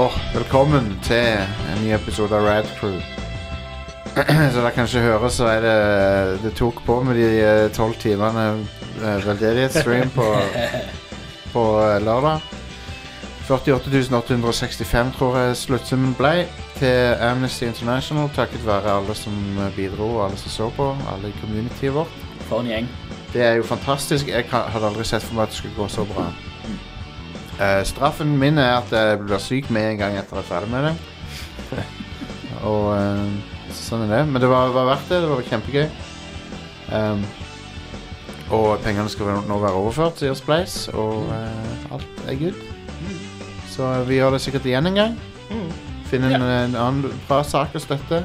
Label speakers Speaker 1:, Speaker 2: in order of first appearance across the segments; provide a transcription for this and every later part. Speaker 1: velkommen til en ny episode av Rad Crew. Som dere kanskje hører, så er det Det tok på med de tolv timene eh, veldedighetsstream på, på eh, lørdag. 48.865 tror jeg sluttsummen ble til Amnesty International takket være alle som eh, bidro, og alle som så på, alle i communityet vårt.
Speaker 2: For en gjeng.
Speaker 1: Det er jo fantastisk. Jeg kan- hadde aldri sett for meg at det skulle gå så bra. Eh, straffen min er at jeg blir syk med en gang etter at jeg er ferdig med det. Og eh, sånn er det. Men det var, var verdt det. Det var kjempegøy. Ehm, og pengene skal vel nå være overført, sier Spleis, og eh, alt er good. Så vi gjør det sikkert igjen en gang. Finne en, en annen bra sak å støtte.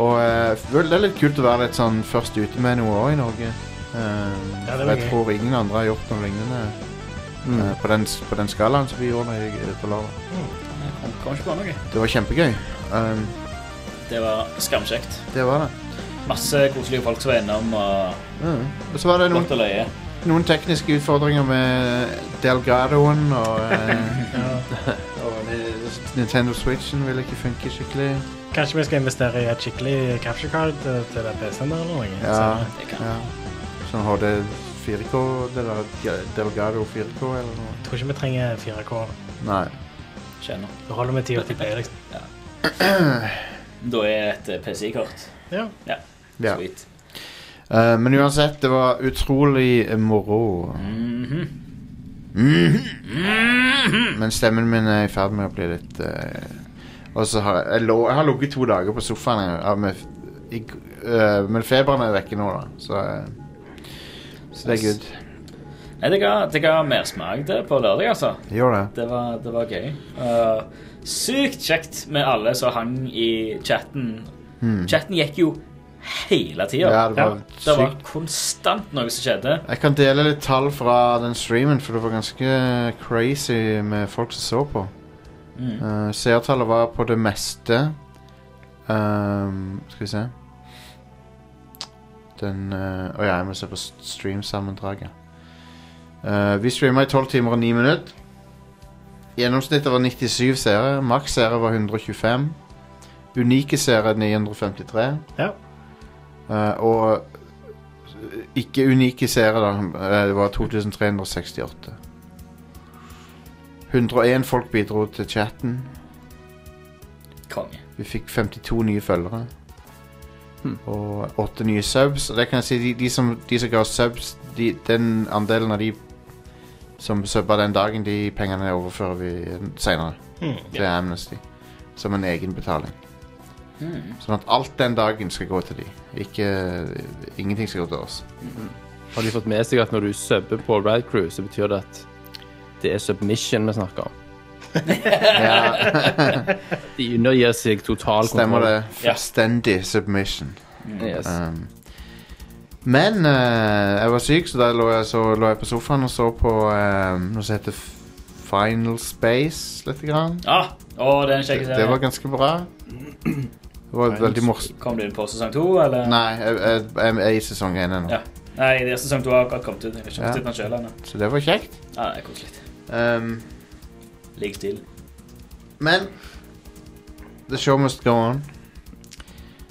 Speaker 1: Og eh, vel, det er litt kult å være litt sånn først ute med noe òg i Norge. Eh,
Speaker 3: Ja, det
Speaker 1: for
Speaker 3: var
Speaker 1: jeg
Speaker 3: gøy.
Speaker 1: tror ingen andre har gjort noe lignende eh, på, den, s- på den skalaen som vi gjorde i- på lørdag.
Speaker 2: Jeg kom, kom ikke på noe.
Speaker 1: Det var kjempegøy. Ehm,
Speaker 2: Det var skamkjekt.
Speaker 1: det var det.
Speaker 2: Masse koselige folk som var innom og
Speaker 1: Mm. Og så var det noen
Speaker 2: godt å løye.
Speaker 1: noen tekniske utfordringer med Delgadoen og, eh, og Ni- Nintendo Switchen ville ikke funke skikkelig.
Speaker 3: Kanskje vi skal investere i et skikkelig capture card eh, til den PC-en der eller noe?
Speaker 1: Ja,
Speaker 3: Så,
Speaker 2: Det kan.
Speaker 1: ja. Sånn HD 4K, det der Ge- Delgado 4K eller noe.
Speaker 3: jeg tror ikke vi trenger 4K.
Speaker 1: Nei.
Speaker 2: Kjenner.
Speaker 3: Det holder med 1080p, liksom.
Speaker 2: Da er et eh, PCI-kort.
Speaker 3: Ja.
Speaker 1: Ja.
Speaker 2: Sweet.
Speaker 1: Eh, men uansett, det var utrolig eh, moro.
Speaker 2: Mhm.
Speaker 1: Mhm. Men stemmen min er i ferd med å bli litt eh, Og så har jeg, jeg, lå, jeg har ligget to dager på sofaen jeg, av med, f- i, eh, Men feberen er vekke nå, da. Så, eh, så det er good.
Speaker 2: Nei, det ga, det ga mersmak det på lørdag, altså.
Speaker 1: Gjør det.
Speaker 2: Det var, det var gøy. Eh, sykt kjekt med alle som hang i chatten. Chatten gikk jo hele tida.
Speaker 1: Mm. Hmm. Ja, det var
Speaker 2: det var
Speaker 1: sykt.
Speaker 2: konstant noe som skjedde.
Speaker 1: Jeg kan dele litt tall fra den streamen, for det var ganske crazy med folk som så på.
Speaker 2: Mm.
Speaker 1: Eh, seertallet var på det meste Ehm, Skal vi se Den eh, Å ja, jeg må se på s- streamsammendraget. Eh, vi streama i 12 timer og 9 minutter. Gjennomsnittet var 97 seere. Maks seere var 125. Unike seere 953.
Speaker 3: Ja.
Speaker 1: Eh, og eh, ikke unike seere, da. Eh, Det var 2368. 101 folk bidro til chatten.
Speaker 2: Konge.
Speaker 1: Vi fikk 52 nye følgere.
Speaker 4: Hmm.
Speaker 1: Og 8 nye subs. Og det kan jeg si, de, de, som, de som ga oss subs, de, den andelen av de som subba den dagen, de pengene overfører vi seinere
Speaker 3: Hmm.
Speaker 1: til Amnesty. Som en egen betaling.
Speaker 2: Mm.
Speaker 1: Sånn at alt den dagen skal gå til de. Ikke, ingenting skal gå til oss.
Speaker 4: Har de fått med seg at når du subber på Rad Crew, så betyr det at det er submission vi snakker om?
Speaker 1: Ja,
Speaker 4: De undergir seg total
Speaker 1: stemmer det.
Speaker 2: Ja.
Speaker 1: Fullstendig submission.
Speaker 4: Yes.
Speaker 1: Um, men eh, jeg var syk, så da lå jeg, så lå jeg på sofaen og så på eh, noe som heter F- Final Space litt. Grann.
Speaker 2: Ah, å, det er en
Speaker 1: Det,
Speaker 2: kjekk
Speaker 1: det var
Speaker 2: serie.
Speaker 1: ganske bra. Det var
Speaker 4: Final
Speaker 1: veldig morsomt.
Speaker 2: Kom du inn på sesong to, eller?
Speaker 1: Nei, jeg, jeg, jeg er i sesong én ennå,
Speaker 2: Ja. Nei, det er sesong to har akkurat kommet ut. Jeg har ikke
Speaker 1: Ja.
Speaker 2: fått sett den selv ennå.
Speaker 1: så det var kjekt.
Speaker 2: Ah, det er koselig.
Speaker 1: Um,
Speaker 2: Ligg stille.
Speaker 1: men the show must go on,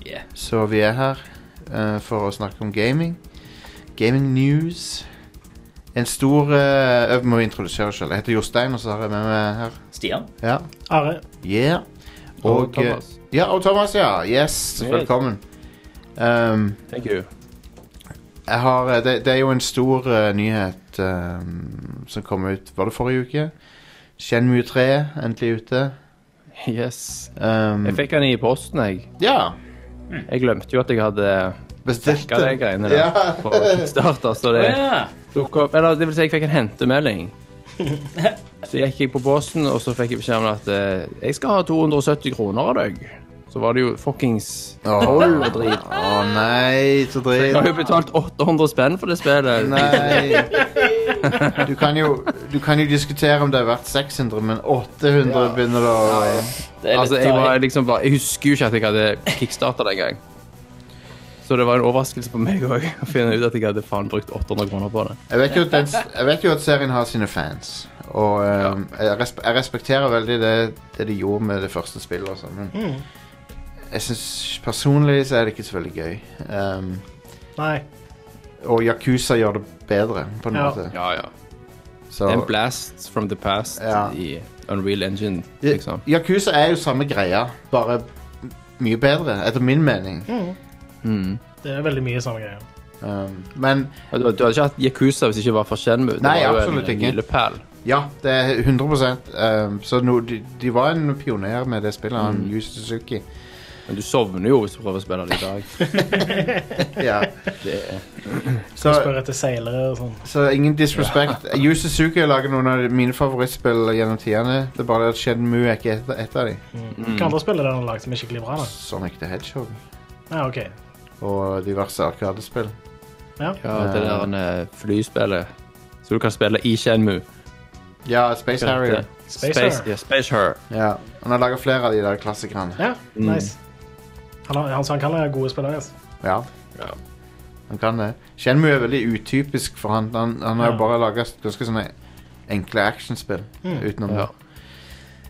Speaker 2: Yeah.
Speaker 1: så vi er her eh, for å snakke om gaming. Gaming news. En stor eh, Jeg må introdusere selv. Jeg heter Jostein, og så har jeg med meg her
Speaker 2: Stian?
Speaker 1: Ja.
Speaker 3: Are.
Speaker 1: Yeah. Og,
Speaker 4: Og Thomas.
Speaker 1: eh, Ja, og Thomas, ja. Yes,
Speaker 4: Yes.
Speaker 1: velkommen. Um,
Speaker 4: Thank you.
Speaker 1: jeg har, eh, det, det er jo en stor eh, nyhet um, som kom ut Var det forrige uke? Shenmue 3, endelig ute.
Speaker 4: Yes.
Speaker 1: Um,
Speaker 4: Jeg fikk den i posten, jeg.
Speaker 1: ja,
Speaker 4: Jeg glemte jo at jeg hadde
Speaker 1: bestilt
Speaker 4: dekka de
Speaker 1: det.
Speaker 4: greiene der
Speaker 1: Ja.
Speaker 4: på Kickstarter, så det
Speaker 2: Ja.
Speaker 4: dukket opp Eller det vil si, jeg fikk en hentemelding. Så gikk jeg på posten, og så fikk jeg beskjed om at eh, jeg skal ha 270 kroner av deg. Så var det jo fuckings
Speaker 1: Åh.
Speaker 4: tolv og drit.
Speaker 1: Å nei, så
Speaker 4: Jeg har jo
Speaker 1: dritt.
Speaker 4: betalt 800 spenn for det spillet.
Speaker 1: Nei. Du kan, jo, du kan jo diskutere om det er verdt 600, men 800 begynner det å
Speaker 2: Det er litt sånn-
Speaker 4: Altså, jeg,
Speaker 2: deilig.
Speaker 4: var, liksom bare, jeg husker jo ikke at jeg hadde kickstarta den gang. Så det var en overraskelse på meg òg å finne ut at jeg hadde faen brukt 800 kroner på det.
Speaker 1: Jeg vet, jo at den, jeg vet jo at serien har sine fans, Og ehm, jeg, resp jeg respekterer veldig det, det de gjorde med det første spillet, altså. Men
Speaker 3: Mm.
Speaker 1: jeg synes personlig så er det ikke så veldig gøy. Ehm,
Speaker 3: Nei.
Speaker 1: og Yakuza gjør det bedre, på en
Speaker 3: Ja.
Speaker 1: måte.
Speaker 4: Ja, ja.
Speaker 1: Så,
Speaker 4: Det er en blast from the past
Speaker 1: Ja.
Speaker 4: i Unreal Engine, liksom.
Speaker 1: Yakuza er jo samme greia, bare mye bedre, etter min mening.
Speaker 4: Mm.
Speaker 3: Det er veldig mye samme greier.
Speaker 1: Ehm, men
Speaker 4: Og Du, du hadde ikke hatt Yakuza hvis det ikke var for Shenmue.
Speaker 1: Nei,
Speaker 4: det var
Speaker 1: absolutt
Speaker 4: en
Speaker 1: ikke.
Speaker 4: milepæl.
Speaker 1: Ja, det er 100 ehm, Så no, de, de var en pioner med det spillet, han
Speaker 3: Mm.
Speaker 1: Yu Suzuki.
Speaker 4: Men du sovner jo hvis du prøver å spille det i dag.
Speaker 1: Ja.
Speaker 4: Det er
Speaker 1: Så,
Speaker 3: Spør etter seilere og sånn.
Speaker 1: så ingen disrespect. Yu Suzuki har laget noen av mine favorittspill gjennom tidene. Det er bare det at Shenmue er ikke et, et av dem.
Speaker 3: Mm. Hvilke andre spill er det han har lagd som er skikkelig bra? da?
Speaker 1: Sonic the Hedgehog
Speaker 3: Ja, ok.
Speaker 1: og diverse arkadespill.
Speaker 3: Ja.
Speaker 4: ja, det der eh, flyspillet. Så du kan spille i Shenmue.
Speaker 1: Ja, Space Harrier.
Speaker 3: Space Harrier.
Speaker 4: ja, Space Her.
Speaker 1: Ja. Han har laget flere av de der klassikerne.
Speaker 3: ja
Speaker 1: Mm.
Speaker 3: nice. Han, har, han, så han kan være gode spillere. Altså.
Speaker 1: Ja.
Speaker 4: Ja.
Speaker 1: Han kan det. Shenmue er veldig utypisk for han. Han, han har jo
Speaker 3: Ja.
Speaker 1: bare laget ganske sånne enkle actionspill
Speaker 3: Mm.
Speaker 1: utenom
Speaker 4: Ja.
Speaker 1: det.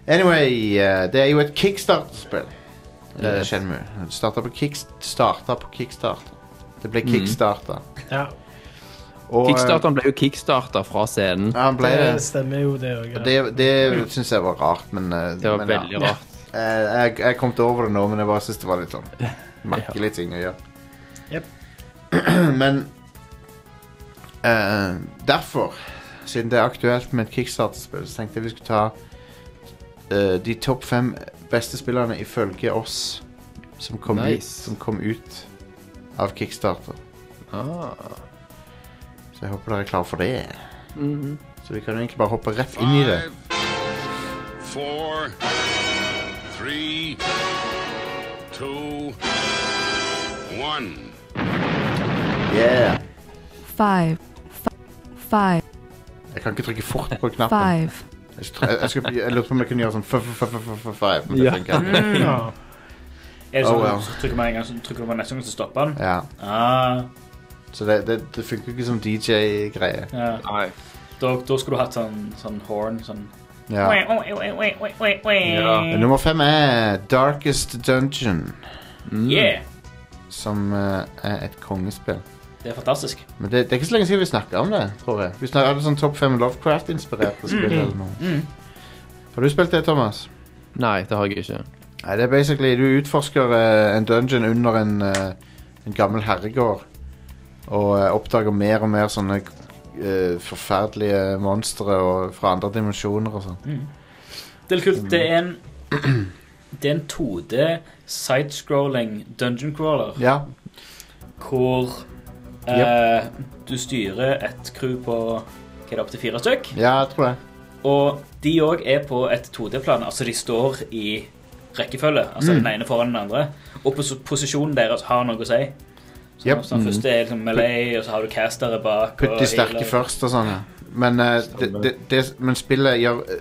Speaker 1: Anyway, eh, det er jo et kickstart-spill. Eh,
Speaker 4: Yes.
Speaker 1: Shenmue. Det starta på, kickst starta på kickstart. Det
Speaker 4: Mm.
Speaker 1: ble kickstarta.
Speaker 3: Ja,
Speaker 1: Og, eh,
Speaker 4: Kickstarteren ble jo kickstarta fra scenen.
Speaker 1: Ja, han ble det.
Speaker 3: det stemmer jo, det òg.
Speaker 1: Det, det syns jeg var rart, men eh,
Speaker 4: Det var
Speaker 1: men,
Speaker 4: veldig
Speaker 1: ja.
Speaker 4: rart.
Speaker 1: Eh, Jeg, jeg kom til over det nå, men jeg bare syns det var litt sånn merkelig ting å gjøre.
Speaker 3: Jep.
Speaker 1: men eh, derfor, siden det er aktuelt med et kickstarterspill, så tenkte jeg vi skulle ta eh, de topp fem beste spillerne ifølge oss som kom,
Speaker 4: Nice.
Speaker 1: ut, som kom ut av kickstarter.
Speaker 4: Ah.
Speaker 1: Så jeg håper dere er klare for det.
Speaker 4: Mhm.
Speaker 1: Så vi kan jo egentlig bare hoppe rett inn i det.
Speaker 5: Five, Four, three, two, one.
Speaker 1: Yeah.
Speaker 6: five, five,
Speaker 1: Jeg kan ikke trykke fort på knappen.
Speaker 6: five,
Speaker 1: Jeg, skulle- jeg, skulle- jeg lurte på om jeg kunne gjøre sånn f- f- f- f- f- five, men det
Speaker 4: Ja.
Speaker 1: funker ikke.
Speaker 3: Ja.
Speaker 2: Er det sånn
Speaker 1: Oh, well.
Speaker 2: at så trykker man en gang, så trykker du på neste gang, så stopper han?
Speaker 1: Ja,
Speaker 2: Ah,
Speaker 1: så det, det, det funker ikke som DJ-greie.
Speaker 2: ja.
Speaker 4: Nei.
Speaker 2: Da, da skulle du hatt sånn, sånn horn, sånn
Speaker 1: Ja.
Speaker 2: Oi, oi, oi, oi, oi, oi, oi.
Speaker 4: Ja.
Speaker 1: Nummer fem er Darkest Dungeon,
Speaker 4: Mm.
Speaker 2: Yeah!
Speaker 1: som eh, er et kongespill.
Speaker 2: Det er fantastisk.
Speaker 1: Men det, det er ikke så lenge siden vi snakka om det, tror jeg. Vi snakket om sånn Topp 5 Lovecraft-inspirerte spill eller noe. Har du spilt det, Thomas?
Speaker 4: Nei, det har jeg ikke.
Speaker 1: Nei, det er basically Du utforsker eh, en dungeon under en, eh, en gammel herregård. Og eh, oppdager mer og mer sånne eh, forferdelige monstre og- fra andre dimensjoner og sånn.
Speaker 2: Det er litt kult. Det er en Det er en 2D sidescrolling dungeon crawler
Speaker 1: Ja.
Speaker 2: hvor eh, du styrer et crew på hva er det, opptil fire stykk.
Speaker 1: ja, jeg tror det.
Speaker 2: Og de òg er på et 2D-plan. Altså, de står i rekkefølge. Altså
Speaker 1: Mm.
Speaker 2: den ene foran den andre. Og pos posisjonen deres har noe å si. Så
Speaker 1: Yep.
Speaker 2: så den første er liksom melee, og så har du castere bak.
Speaker 1: Mm. Putt
Speaker 2: og
Speaker 1: de sterke
Speaker 2: healer.
Speaker 1: først og sånn. ja. Men, eh, det, det, det, men spillet gjør, eh,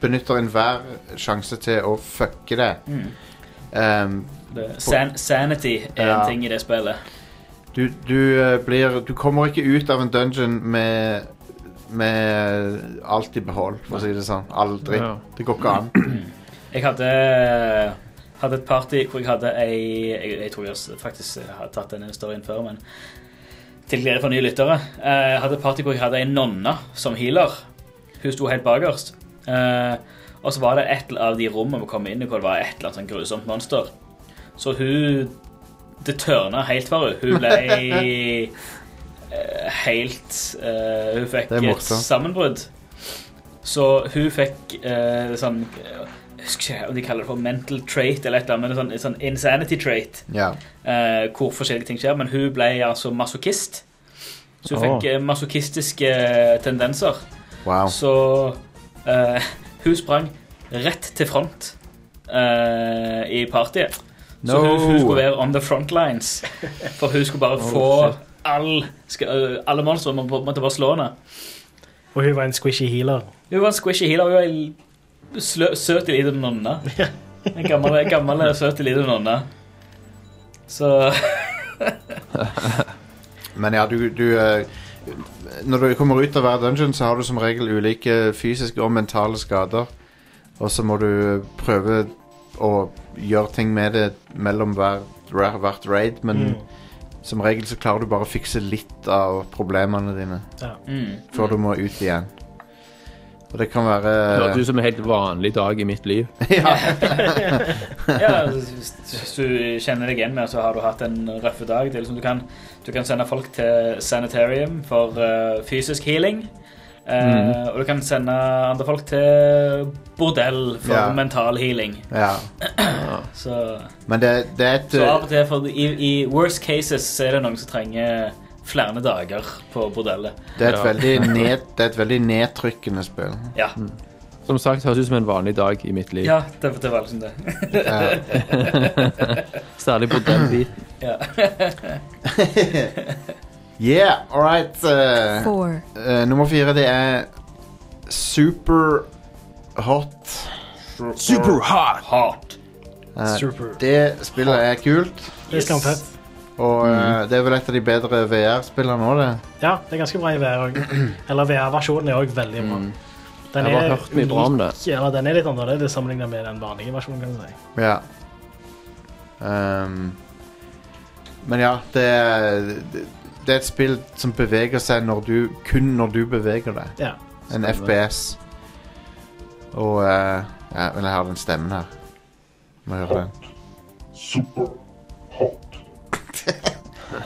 Speaker 1: benytter enhver sjanse til å fucke det. Um,
Speaker 2: Mm. Det- San sanity er
Speaker 1: Ja.
Speaker 2: en ting i det spillet.
Speaker 1: du, du, eh, blir, du kommer ikke ut av en dungeon med, med alt i behold, for å si det sånn. All dritt.
Speaker 4: Ja.
Speaker 1: Det går ikke an.
Speaker 2: Jeg hadde, hadde et party hvor jeg hadde ei Jeg, jeg tror jeg s- faktisk hadde tatt denne storyen før, men til glede for nye lyttere. Eh, Jeg hadde et party hvor jeg hadde ei nonne som healer. Hun sto helt bakerst. Eh, og så var det et av de rommene vi kom inn i hvor det var et eller annet sånn grusomt monster. Så hun Det tørna helt for henne. Hun ble eh, helt eh, Hun fikk
Speaker 1: Det er
Speaker 2: et
Speaker 1: morsomt.
Speaker 2: sammenbrudd. Så hun fikk eh, sånn eh, Jeg husker ikke om de kaller det for mental trait eller et eller annet, men en sånn, en sånn insanity trait.
Speaker 1: Ja.
Speaker 2: eh, hvor forskjellige ting skjer. Men hun ble altså masochist. Så hun
Speaker 4: Åh.
Speaker 2: fikk eh, masochistiske eh, tendenser.
Speaker 1: Wow.
Speaker 2: Så eh, hun sprang rett til front eh, i partyet. Så
Speaker 1: No.
Speaker 2: hun, hun skulle være on the front lines. For hun skulle bare få all, skal, eh, alle monstre. Man må- måtte bare slå henne.
Speaker 3: Og hun var en squishy healer.
Speaker 2: Hun var en squishy healer. Hun var ei slø- søt liten nonne. En gammel, gammel eh, søt liten nonne. Så
Speaker 1: Men ja, du, du eh, når du kommer ut av hver dungeon, så har du som regel ulike fysiske og mentale skader. Og så må du prøve å gjøre ting med det mellom hver, hver- hvert raid, men
Speaker 3: Mm.
Speaker 1: som regel så klarer du bare å fikse litt av problemene dine
Speaker 3: Ja.
Speaker 2: Mm.
Speaker 1: før du må ut igjen. Og det kan
Speaker 4: Det
Speaker 1: være
Speaker 4: hørtes ut som en helt vanlig dag i mitt liv.
Speaker 1: ja,
Speaker 2: Ja, hvis hvis du kjenner deg igjen med at så har du hatt en røff dag. Det er liksom, du, kan, du kan sende folk til sanitarium for eh, fysisk healing. Eh,
Speaker 1: Mm.
Speaker 4: Mhm.
Speaker 2: Og du kan sende andre folk til bordell for
Speaker 1: Ja.
Speaker 2: mental healing.
Speaker 1: ja.
Speaker 2: Så,
Speaker 1: Men det, det er et
Speaker 2: så av og til, for i, i worst cases, så er det noen som trenger flere dager på bordellet.
Speaker 1: Det er et,
Speaker 4: Ja.
Speaker 1: veldig, ned, det er et veldig nedtrykkende spill.
Speaker 2: Ja,
Speaker 1: Mm.
Speaker 4: Som sagt, høres ut som en vanlig dag i mitt liv.
Speaker 2: ja det, det var liksom det.
Speaker 1: Eh,
Speaker 4: Særlig på den biten.
Speaker 2: Ja.
Speaker 1: yeah, all right. eh,
Speaker 6: four,
Speaker 1: eh, nummer fire, det er Super Hot.
Speaker 4: Superhot!
Speaker 2: Hot.
Speaker 1: Eh,
Speaker 3: Super.
Speaker 1: det spillet er kult,
Speaker 3: Det er skamfett.
Speaker 1: og eh, det er vel et av de bedre VR-spillene nå, det.
Speaker 3: Ja, det er ganske bra i VR òg. Eller VR-versjonen er òg veldig bra. Den
Speaker 4: Mm. Jeg har
Speaker 3: er
Speaker 4: bare hørt mye bra om det.
Speaker 3: unik- Eller den er litt annerledes sammenlignet med den vanlige versjonen. kan du si.
Speaker 1: Ja. Ehm, men ja, det er, det- det er et spill som beveger seg når du, kun når du beveger deg.
Speaker 3: Ja.
Speaker 1: En
Speaker 4: Stemmer.
Speaker 1: FPS. Og eh, ja, Men jeg har den stemmen her. Må høre den.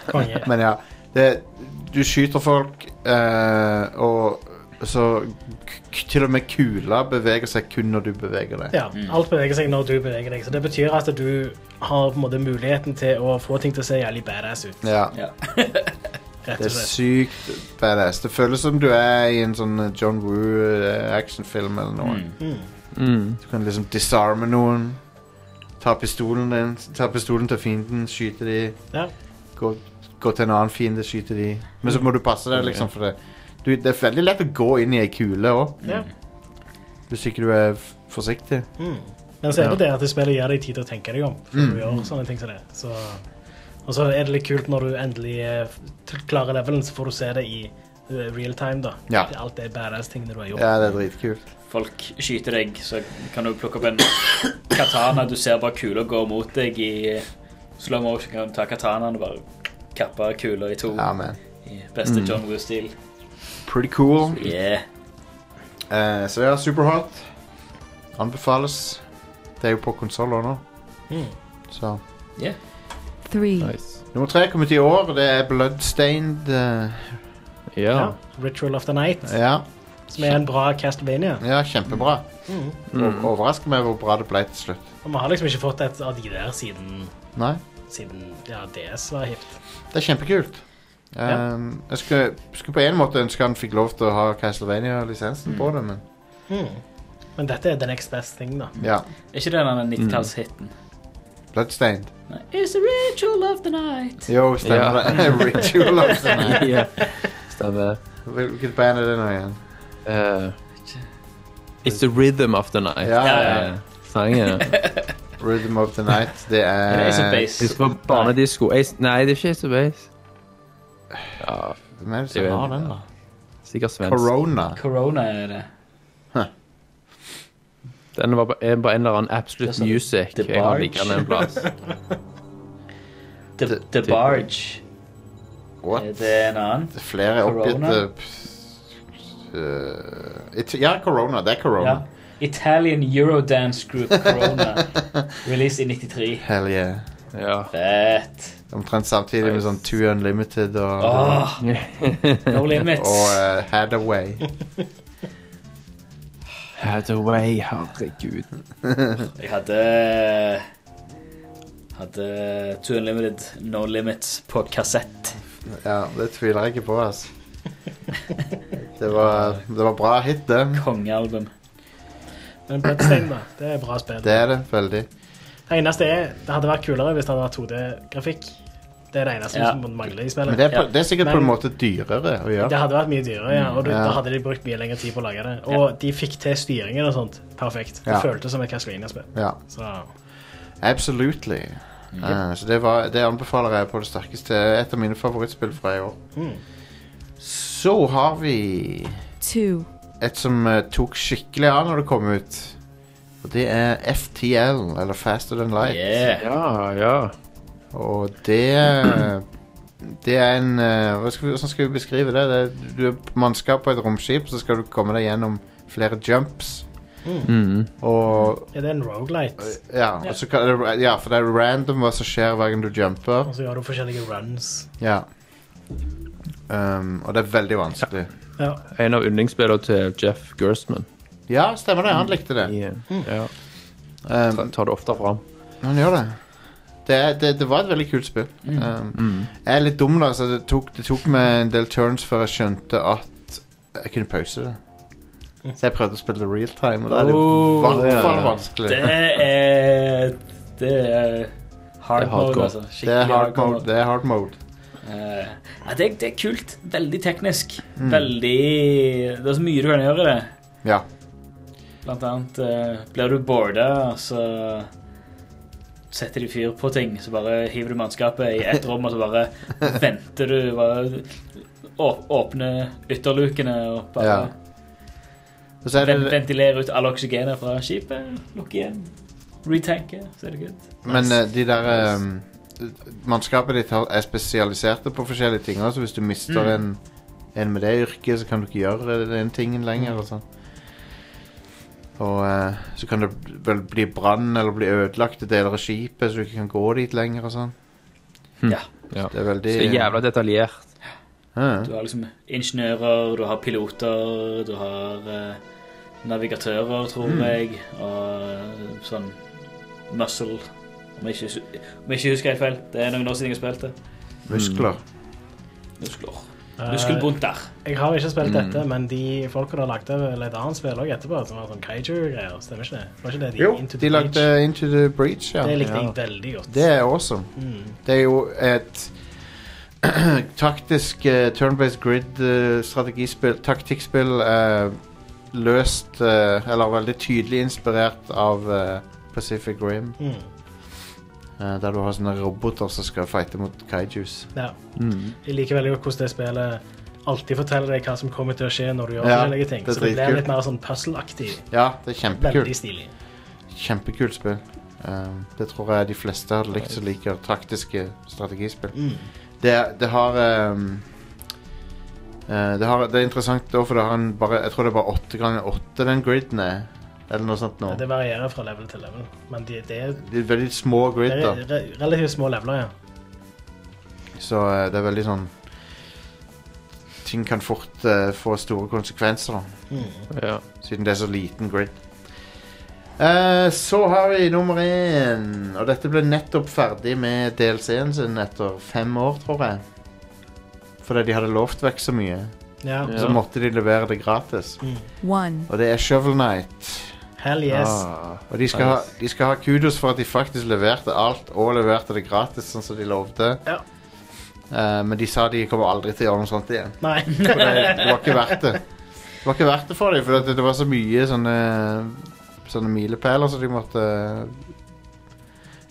Speaker 3: Konge.
Speaker 1: Men ja, det, du skyter folk, eh, og så k- k til og med kula beveger seg kun når du beveger deg.
Speaker 3: Ja, alt beveger seg når du beveger deg, så det betyr at du har på en måte muligheten til å få ting til å se jævlig badass ut.
Speaker 1: Ja,
Speaker 2: Ja.
Speaker 1: det
Speaker 3: rett og
Speaker 1: er
Speaker 3: slett.
Speaker 1: sykt badass. Det føles som du er i en sånn John Woo-actionfilm eller noe.
Speaker 2: Mm.
Speaker 3: Mm.
Speaker 4: Mm.
Speaker 1: Du kan liksom disarme noen, ta pistolen, din, ta pistolen til fienden, skyte de,
Speaker 3: Ja.
Speaker 1: gå, gå til en annen fiende, skyte de. Men så må du passe deg, liksom, for det. Du, det er veldig lett å gå inn i ei kule òg,
Speaker 3: Ja.
Speaker 4: mm.
Speaker 1: hvis ikke du er f- forsiktig.
Speaker 3: Mm. Men så er det
Speaker 4: Ja. Mm.
Speaker 3: det at spillet gir deg tid til å tenke deg om. før du gjør sånne ting som det. Så, og så er det litt kult når du endelig eh, t- klarer levelen, så får du se det i eh, real time. da.
Speaker 1: Ja.
Speaker 3: Det er Alt det badass-tingene du har gjort.
Speaker 1: Ja, det er dritkult.
Speaker 2: folk skyter deg, så kan du plukke opp en katana. Du ser bare kula gå mot deg i slow motion. Kan du ta katanaen og bare kappe kula i to.
Speaker 1: Ja, Mm. man.
Speaker 2: I beste John Woo-stil.
Speaker 1: Pretty cool.
Speaker 2: Yeah.
Speaker 1: Eh, så ja, Superhot anbefales. Det er jo på konsoller nå,
Speaker 3: Mm.
Speaker 1: så
Speaker 6: three,
Speaker 4: Nice.
Speaker 1: Nummer tre er kommet i år. Det er Bloodstained. eh,
Speaker 4: Ja.
Speaker 3: Ja. Ritual of the Night,
Speaker 1: ja,
Speaker 3: som er en bra Castlevania.
Speaker 1: ja, kjempebra.
Speaker 3: Mm.
Speaker 1: Mm. Overrasker meg hvor bra det ble til slutt.
Speaker 3: Og vi har liksom ikke fått et av de der siden,
Speaker 1: Nei,
Speaker 3: siden ja, DS var hipt.
Speaker 1: det er kjempekult.
Speaker 3: Ja.
Speaker 1: Um, jeg skulle, skulle på en måte ønske han fikk lov til å ha Castlevania-lisensen på det, men
Speaker 3: Mm. Men dette er the next best thing, da.
Speaker 1: ja.
Speaker 2: Er ikke det
Speaker 1: Mm.
Speaker 2: den 90-tallshiten?
Speaker 1: Bloodstained.
Speaker 2: Nei. It's the ritual of the night.
Speaker 1: Jo, stemmer
Speaker 4: Ja.
Speaker 1: det. Ritual of the Night.
Speaker 4: ja. Stemmer.
Speaker 1: Hvilket band er det nå igjen?
Speaker 4: Eh, it's the rhythm of the night.
Speaker 1: Ja,
Speaker 2: ja,
Speaker 1: ja.
Speaker 4: Eh, Sangen.
Speaker 1: Rhythm of the Night. Det
Speaker 2: Det
Speaker 1: er
Speaker 2: er som base.
Speaker 4: Husk på barnedisko. Ace- Nei, det er ikke Ace of Base.
Speaker 1: Hvem er det som har den, da?
Speaker 4: Sikkert svensk.
Speaker 1: Corona.
Speaker 2: Corona er det.
Speaker 4: Den var på en, på en eller annen
Speaker 2: Det er
Speaker 4: Absolute
Speaker 2: sånn
Speaker 4: Music.
Speaker 2: The
Speaker 4: Jeg har
Speaker 2: Barge.
Speaker 4: liggende en plass.
Speaker 2: The, the Barge.
Speaker 1: What?
Speaker 2: Er det en annen?
Speaker 1: Det er flere
Speaker 2: Corona?
Speaker 1: oppgitte p- øh, it- Ja, Corona. Det er Corona.
Speaker 2: Ja. Italian Eurodance Group Corona. Release i 93.
Speaker 1: Hell yeah.
Speaker 4: Ja.
Speaker 2: Fett.
Speaker 1: Omtrent samtidig med
Speaker 4: Nice.
Speaker 1: sånn Two Unlimited og,
Speaker 2: Åh, no limits.
Speaker 1: og eh, Hadaway.
Speaker 4: Hathaway, herregud.
Speaker 2: Jeg hadde Hadde Two Unlimited No Limits på kassett.
Speaker 1: Ja, det tviler jeg ikke på, altså. Det var, det var bra hit, det.
Speaker 2: Kongealbum.
Speaker 3: Men Bloodstained, da. Det er bra spill.
Speaker 1: Det er det, veldig.
Speaker 3: Det eneste er, det hadde vært kulere hvis det hadde vært 2D-grafikk. Det er det eneste
Speaker 2: Ja.
Speaker 3: som mangler i
Speaker 1: Men
Speaker 3: spillet.
Speaker 1: det er, på,
Speaker 2: Ja.
Speaker 1: det er sikkert på en
Speaker 3: Men-
Speaker 1: måte dyrere å
Speaker 3: Det
Speaker 1: gjøre.
Speaker 3: hadde vært mye dyrere, ja, og du,
Speaker 1: Mm. Ja.
Speaker 3: da hadde de brukt mye lengre tid på å lage det. Og de fikk til styringen og sånt. Perfekt. Det
Speaker 1: Ja.
Speaker 3: føltes som et Castlevania-spill.
Speaker 1: Ja,
Speaker 3: Så
Speaker 1: absolutely. Eh, så det, var, det anbefaler jeg på det sterkeste. Et av mine favorittspill fra i år. Så har vi
Speaker 6: two,
Speaker 1: et som eh, tok skikkelig av når det kom ut. Og det er FTL, eller Faster Than Light.
Speaker 2: Yeah.
Speaker 4: Ja, ja.
Speaker 1: Og det Det er en eh, hva skal vi, Hvordan skal vi beskrive det? det er- du er mannskap på et romskip, så skal du komme deg gjennom flere jumps.
Speaker 4: Mm.
Speaker 1: Og eh,
Speaker 3: Er det en rogelight?
Speaker 1: ja, og så kan, det- ja, for det er random hva som skjer hver gang du jumper.
Speaker 3: Og så gjør du forskjellige runs.
Speaker 1: Ja. Um, og det er veldig vanskelig.
Speaker 3: Ja.
Speaker 4: En av yndlingsspillene til Jeff Gerstman.
Speaker 1: Ja, stemmer det. Han likte det.
Speaker 4: Ja.
Speaker 1: Um,
Speaker 4: Ta- Tar det ofte fram.
Speaker 1: han gjør det. Det, er- det. det var et veldig kult spill.
Speaker 4: Mm.
Speaker 1: Um, Jeg er litt dum, da, så det tok, det tok meg en del turns før jeg skjønte at jeg kunne pause det. Så jeg prøvde å spille det real time, og da er det i
Speaker 4: Oh,
Speaker 1: hvert fall
Speaker 4: ja.
Speaker 1: vanskelig.
Speaker 2: Det er Det er hard
Speaker 4: Det er hardcore.
Speaker 2: mode, altså.
Speaker 1: Det er hard mode. Det er hard mode.
Speaker 2: Eh, ja, det, er, det er kult. Veldig teknisk. Veldig Det er så mye du kan gjøre i det.
Speaker 1: Mm. Ja.
Speaker 2: Blant annet eh, blir du boarda, så setter de fyr på ting. Så bare hiver du mannskapet i ett rom, og så bare venter du. Bare å- åpner ytterlukene og bare
Speaker 1: Ja. Og så er
Speaker 2: ven-
Speaker 1: det,
Speaker 2: ventilerer ut all oksygenet fra skipet. Lukker igjen. Retanker, så er det good.
Speaker 1: men eh, de der um, Mannskapet ditt har- er spesialiserte på forskjellige ting. Altså hvis du mister
Speaker 2: Mm.
Speaker 1: en, en med det yrket, så kan du ikke gjøre den tingen
Speaker 4: Mm.
Speaker 1: lenger. Og, sånn. og eh, så kan det vel bli brann eller bli ødelagte deler av skipet, så du ikke kan gå dit lenger. og sånn
Speaker 2: Ja.
Speaker 4: Hm. Ja.
Speaker 1: Det er veldig
Speaker 4: Så jævla detaljert.
Speaker 1: Ja,
Speaker 2: Du har liksom ingeniører, du har piloter, du har eh, navigatører, tror jeg, og eh, sånn muscle. Om jeg, ikke, hus- om jeg ikke husker helt feil. Det er noen år siden jeg spilte.
Speaker 1: Muskler.
Speaker 2: Muskler.
Speaker 3: Eh,
Speaker 2: Muskelbunt der.
Speaker 3: jeg har ikke spilt dette, men de folka der lagde vel et annet spill også etterpå, som var sånn kaiju-greier. Stemmer ikke det? Var ikke det de
Speaker 1: Jo,
Speaker 3: Into the
Speaker 1: de lagde
Speaker 3: Breach?
Speaker 1: Into the Breach, ja.
Speaker 3: Det likte
Speaker 1: ja.
Speaker 3: jeg veldig godt.
Speaker 1: Det er awesome.
Speaker 3: Mm.
Speaker 1: Det er jo et taktisk eh, turn-based grid eh, strategispill, taktikkspill eh, løst eh, Eller veldig tydelig inspirert av eh, Pacific Rim.
Speaker 3: Mm.
Speaker 1: eh, der du har sånne roboter som skal fighte mot kaijus.
Speaker 3: Ja.
Speaker 4: Mm.
Speaker 3: Jeg liker veldig godt hvordan det spillet alltid forteller deg hva som kommer til å skje når du gjør
Speaker 1: Ja,
Speaker 3: forskjellige ting.
Speaker 1: det er
Speaker 3: Så det blir
Speaker 1: dritkult.
Speaker 3: litt mer sånn puzzle-aktig.
Speaker 1: Ja, det er
Speaker 3: Veldig
Speaker 1: kjempekult.
Speaker 3: stilig.
Speaker 1: Kjempekult spill. Eh, det tror jeg de fleste hadde likt som liker taktiske strategispill.
Speaker 3: Mm.
Speaker 1: Det, det har ehm, eh, det, har, det er interessant da, for det har en bare, jeg tror det er bare åtte ganger åtte den griden er. Eller noe sånt nå.
Speaker 3: Det varierer fra level til level, men det, det er
Speaker 1: Det er veldig små grid,
Speaker 3: re
Speaker 1: da.
Speaker 3: re relativt små leveler, ja.
Speaker 1: Så eh, det er veldig sånn Ting kan fort eh, få store konsekvenser, da.
Speaker 3: Mm.
Speaker 4: Ja.
Speaker 1: Siden det er så liten grid. Eh, så har vi nummer én, og dette ble nettopp ferdig med DLC-en sin etter fem år, tror jeg. Fordi de hadde lovt vekk så mye.
Speaker 3: ja.
Speaker 1: Så måtte de levere det gratis.
Speaker 3: Mm.
Speaker 6: one,
Speaker 1: Og det er Shovel Knight.
Speaker 3: Hell yes.
Speaker 4: Ah,
Speaker 1: Og de skal, ha, de skal ha kudos for at de faktisk leverte alt, og leverte det gratis, sånn som de lovte.
Speaker 3: Ja.
Speaker 1: Eh, men de sa de kommer aldri til å gjøre noe sånt igjen.
Speaker 3: Nei.
Speaker 1: For det, det var ikke verdt det. Det var ikke verdt det for dem, for det, det var så mye sånne, sånne milepæler som de måtte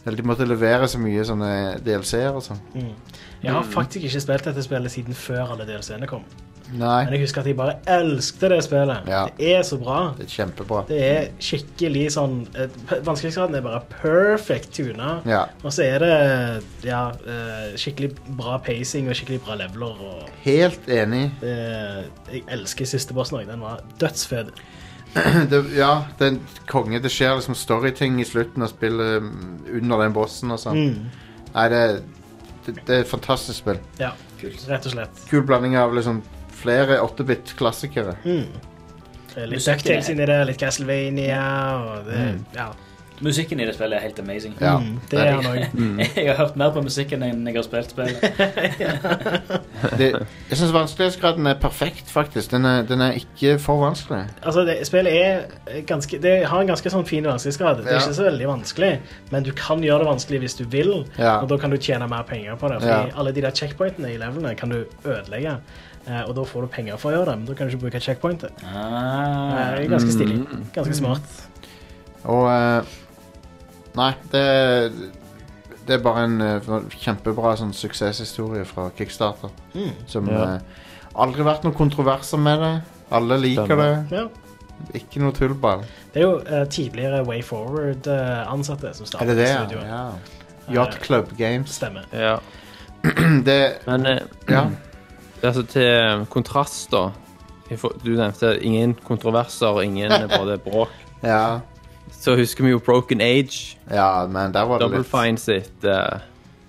Speaker 1: Eller de måtte levere så mye sånne DLC-er og sånn.
Speaker 3: Mm. Jeg har faktisk ikke spilt dette spillet siden før alle DLC-ene kom.
Speaker 1: Nei.
Speaker 3: Men jeg husker at jeg bare elsket det spillet.
Speaker 1: Ja.
Speaker 3: Det er så bra.
Speaker 1: Det er kjempebra.
Speaker 3: Det er skikkelig sånn eh, p- Vanskelighetsgraden er bare perfect tuna.
Speaker 1: Ja.
Speaker 3: Og så er det ja, eh, skikkelig bra pacing og skikkelig bra leveler. Og
Speaker 1: Helt enig.
Speaker 3: det, jeg elsker siste bossen òg. Den var dødsfed.
Speaker 1: det, ja, den konge, det skjer liksom storyting i slutten av spillet mm, under den bossen og sånn.
Speaker 3: Mm.
Speaker 1: Nei, det, det, det er et fantastisk spill.
Speaker 3: Ja, rett og slett.
Speaker 1: Kul blanding av liksom flere 8-bit-klassikere.
Speaker 3: Mm. Det er Litt
Speaker 2: Musikken
Speaker 3: DuckTales
Speaker 2: er-
Speaker 3: inni det, litt Castlevania og det, ja.
Speaker 2: Musikken i det spillet er helt amazing.
Speaker 1: Mm. Ja,
Speaker 3: mm,
Speaker 1: det
Speaker 3: det
Speaker 1: er
Speaker 3: er han òg.
Speaker 2: Jeg har hørt mer på musikken enn jeg har spilt spillet.
Speaker 1: Det, jeg syns vanskelighetsgraden er perfekt, faktisk. Den er, den er ikke for vanskelig.
Speaker 3: Altså, det, spillet er eh, ganske, det har en ganske sånn fin vanskelighetsgrad. Det er
Speaker 1: Ja.
Speaker 3: ikke så veldig vanskelig, men du kan gjøre det vanskelig hvis du vil,
Speaker 1: Ja.
Speaker 3: og da kan du tjene mer penger på det. Fordi
Speaker 1: Ja.
Speaker 3: alle de der checkpointene i levelene kan du ødelegge, eh, og da får du penger for å gjøre det, men da kan du ikke bruke checkpointet. Eh,
Speaker 2: Ah, Mm.
Speaker 3: Det er ganske stilig.
Speaker 1: Mm.
Speaker 3: Ganske smart.
Speaker 1: Og eh, Nei, det Det er
Speaker 3: Mm.
Speaker 1: bare en eh, kjempebra sånn suksesshistorie fra Kickstarter. Som
Speaker 4: Ja.
Speaker 1: eh, Aldri vært noen kontroverser med det. Alle liker
Speaker 4: Stemmer.
Speaker 1: det.
Speaker 3: Ja.
Speaker 1: Ikke noe tullball.
Speaker 3: Det er jo eh, tidligere Way Forward-ansatte som
Speaker 1: Er det
Speaker 3: startet
Speaker 1: det? ja?
Speaker 3: studioet.
Speaker 1: Ja. Yacht Club Games.
Speaker 3: Stemmer.
Speaker 4: Ja.
Speaker 1: Mm, Det
Speaker 4: Men eh,
Speaker 1: Ja.
Speaker 4: altså, til kontrast, da. i for- Du nevnte ingen kontroverser, ingen eh, både bråk.
Speaker 1: Ja,
Speaker 4: Så husker vi jo Broken Age,
Speaker 1: ja men der var det
Speaker 4: Double
Speaker 1: litt
Speaker 4: Fine sitt eh,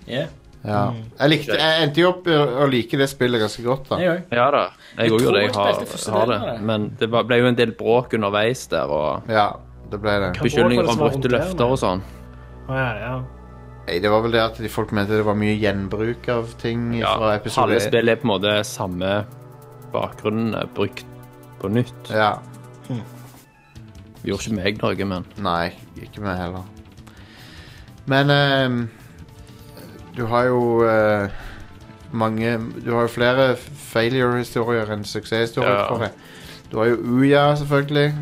Speaker 2: Yeah,
Speaker 1: ja. jeg, likte, jeg endte jo opp å å like Mm. det spillet ganske godt, da.
Speaker 2: jeg òg.
Speaker 4: Ja da. Jeg
Speaker 2: Jeg
Speaker 4: òg
Speaker 2: tror
Speaker 4: gjorde det.
Speaker 2: jeg
Speaker 4: Jeg har,
Speaker 2: spilte første
Speaker 4: har
Speaker 2: delen av
Speaker 4: det.
Speaker 2: det.
Speaker 4: Men det var, ble jo en del bråk underveis der, og
Speaker 1: Ja, det ble det.
Speaker 3: Hva
Speaker 4: beskyldninger
Speaker 3: bråk var det
Speaker 4: om
Speaker 3: som var rundt
Speaker 4: brutte
Speaker 3: der,
Speaker 4: løfter og sånn.
Speaker 3: Å, ja, ja.
Speaker 1: Nei, det var vel det at de folk mente det var mye gjenbruk av ting
Speaker 4: Ja,
Speaker 1: fra
Speaker 4: Alle
Speaker 1: episode
Speaker 4: spill er på en måte samme bakgrunnen eh, brukt på nytt.
Speaker 1: Ja.
Speaker 4: Det Gjorde ikke meg noe, men
Speaker 1: Nei, ikke meg heller. Men ehm, du har jo eh, mange Du har jo flere failure-historier enn suksesshistorier,
Speaker 4: Ja.
Speaker 1: tror jeg. Du har jo Uya, selvfølgelig,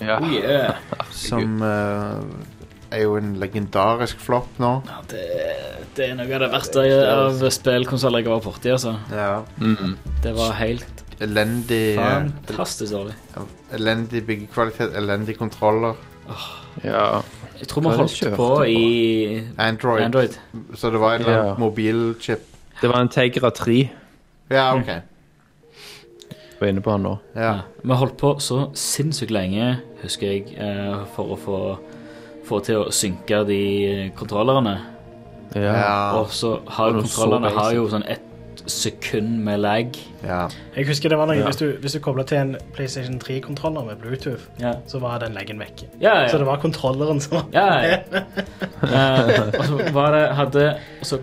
Speaker 4: ja.
Speaker 2: Oh, yeah.
Speaker 1: som eh, er jo en legendarisk flopp nå.
Speaker 2: ja, det, det er noe av det verste av spillkonsoller jeg har vært borti. Altså.
Speaker 1: Ja.
Speaker 4: Mm.
Speaker 2: Det var helt
Speaker 1: Elendig eh,
Speaker 2: fantastisk dårlig.
Speaker 1: Elendig byggekvalitet, elendig kontroller.
Speaker 4: ja.
Speaker 2: Jeg tror
Speaker 4: Hva
Speaker 2: vi
Speaker 4: er det
Speaker 2: holdt
Speaker 4: kjørte
Speaker 2: på
Speaker 4: på?
Speaker 2: i
Speaker 1: Android.
Speaker 2: Android.
Speaker 1: Så det var en eller annen
Speaker 4: Ja.
Speaker 1: mobilchip.
Speaker 4: Det var en Tegra 3
Speaker 1: Ja,
Speaker 4: Mm.
Speaker 1: OK.
Speaker 4: jeg var inne på han nå.
Speaker 1: Ja.
Speaker 2: Vi holdt på så sinnssykt lenge, husker jeg, eh, for å få, få til å synke de kontrollerne.
Speaker 4: Ja.
Speaker 1: Ja.
Speaker 2: Og så har jo
Speaker 4: Og så
Speaker 2: kontrollerne
Speaker 4: basic.
Speaker 2: har jo sånn ett sekund med lag.
Speaker 1: ja.
Speaker 3: Jeg husker det var noe,
Speaker 4: Ja.
Speaker 3: hvis du, hvis du koblet til en PlayStation 3-kontroller med Bluetooth,
Speaker 2: Ja,
Speaker 3: så var den leggen vekk.
Speaker 2: ja. ja.
Speaker 3: Så det var kontrolleren som var
Speaker 2: Ja, ja. Eh, og så var det hadde altså,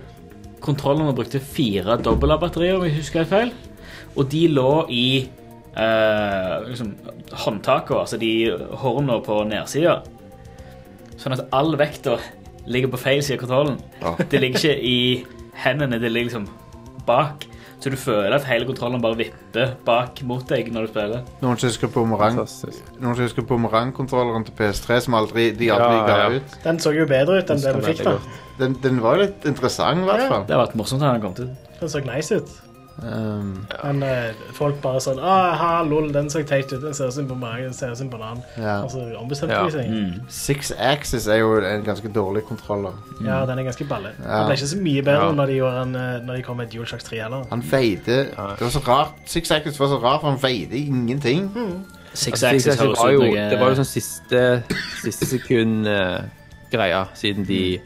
Speaker 2: Kontrollene brukte fire dobbel batterier, om jeg husker helt feil. Og de lå i eh, liksom, håndtakene, altså de hårene på nedsida. Sånn at all vekta ligger på feil side av kontrollen.
Speaker 1: Ja.
Speaker 2: Det ligger ikke i hendene, det ligger liksom bak. Så du føler at hele kontrollen bare vipper bak mot deg når du spiller.
Speaker 1: Noen som husker bumerang-
Speaker 4: Fantastisk.
Speaker 1: noen som husker bumerangkontrolleren til PS3 som aldri, de aldri
Speaker 4: Ja,
Speaker 1: ga
Speaker 4: ja.
Speaker 1: ut?
Speaker 3: Den så jo bedre ut enn det
Speaker 4: Husker
Speaker 3: vi fikk,
Speaker 4: veldig
Speaker 3: da.
Speaker 4: godt.
Speaker 1: Den, den var litt interessant, i hvert
Speaker 3: Ja.
Speaker 1: fall.
Speaker 2: Det har vært morsomt da han kom til.
Speaker 3: Den så nice ut.
Speaker 1: Um,
Speaker 3: Men eh, folk bare sånn Aha, lol, den så teit ut. Den ser ut som en bumerang, den ser ut som en banan.
Speaker 1: ja.
Speaker 2: Altså-
Speaker 1: Mm,
Speaker 3: Og så ombestemte
Speaker 4: Ja.
Speaker 3: de seg.
Speaker 1: Six Axis er jo en ganske dårlig kontroller.
Speaker 3: Ja, den er ganske balle.
Speaker 1: mm. Ja.
Speaker 3: Den ble ikke så mye bedre
Speaker 4: Ja.
Speaker 3: når, de gjorde en, eh, når de kom med DualShock 3 heller.
Speaker 1: Han veide Det var så rart. Six Axis var så rart, for han veide ingenting.
Speaker 2: Hmm. Six
Speaker 4: Altså,
Speaker 2: Axis
Speaker 4: Six Axis
Speaker 2: høres
Speaker 4: var
Speaker 2: ut
Speaker 4: jo,
Speaker 2: noe-
Speaker 4: det var jo sånn siste, siste sekund eh, greia, siden de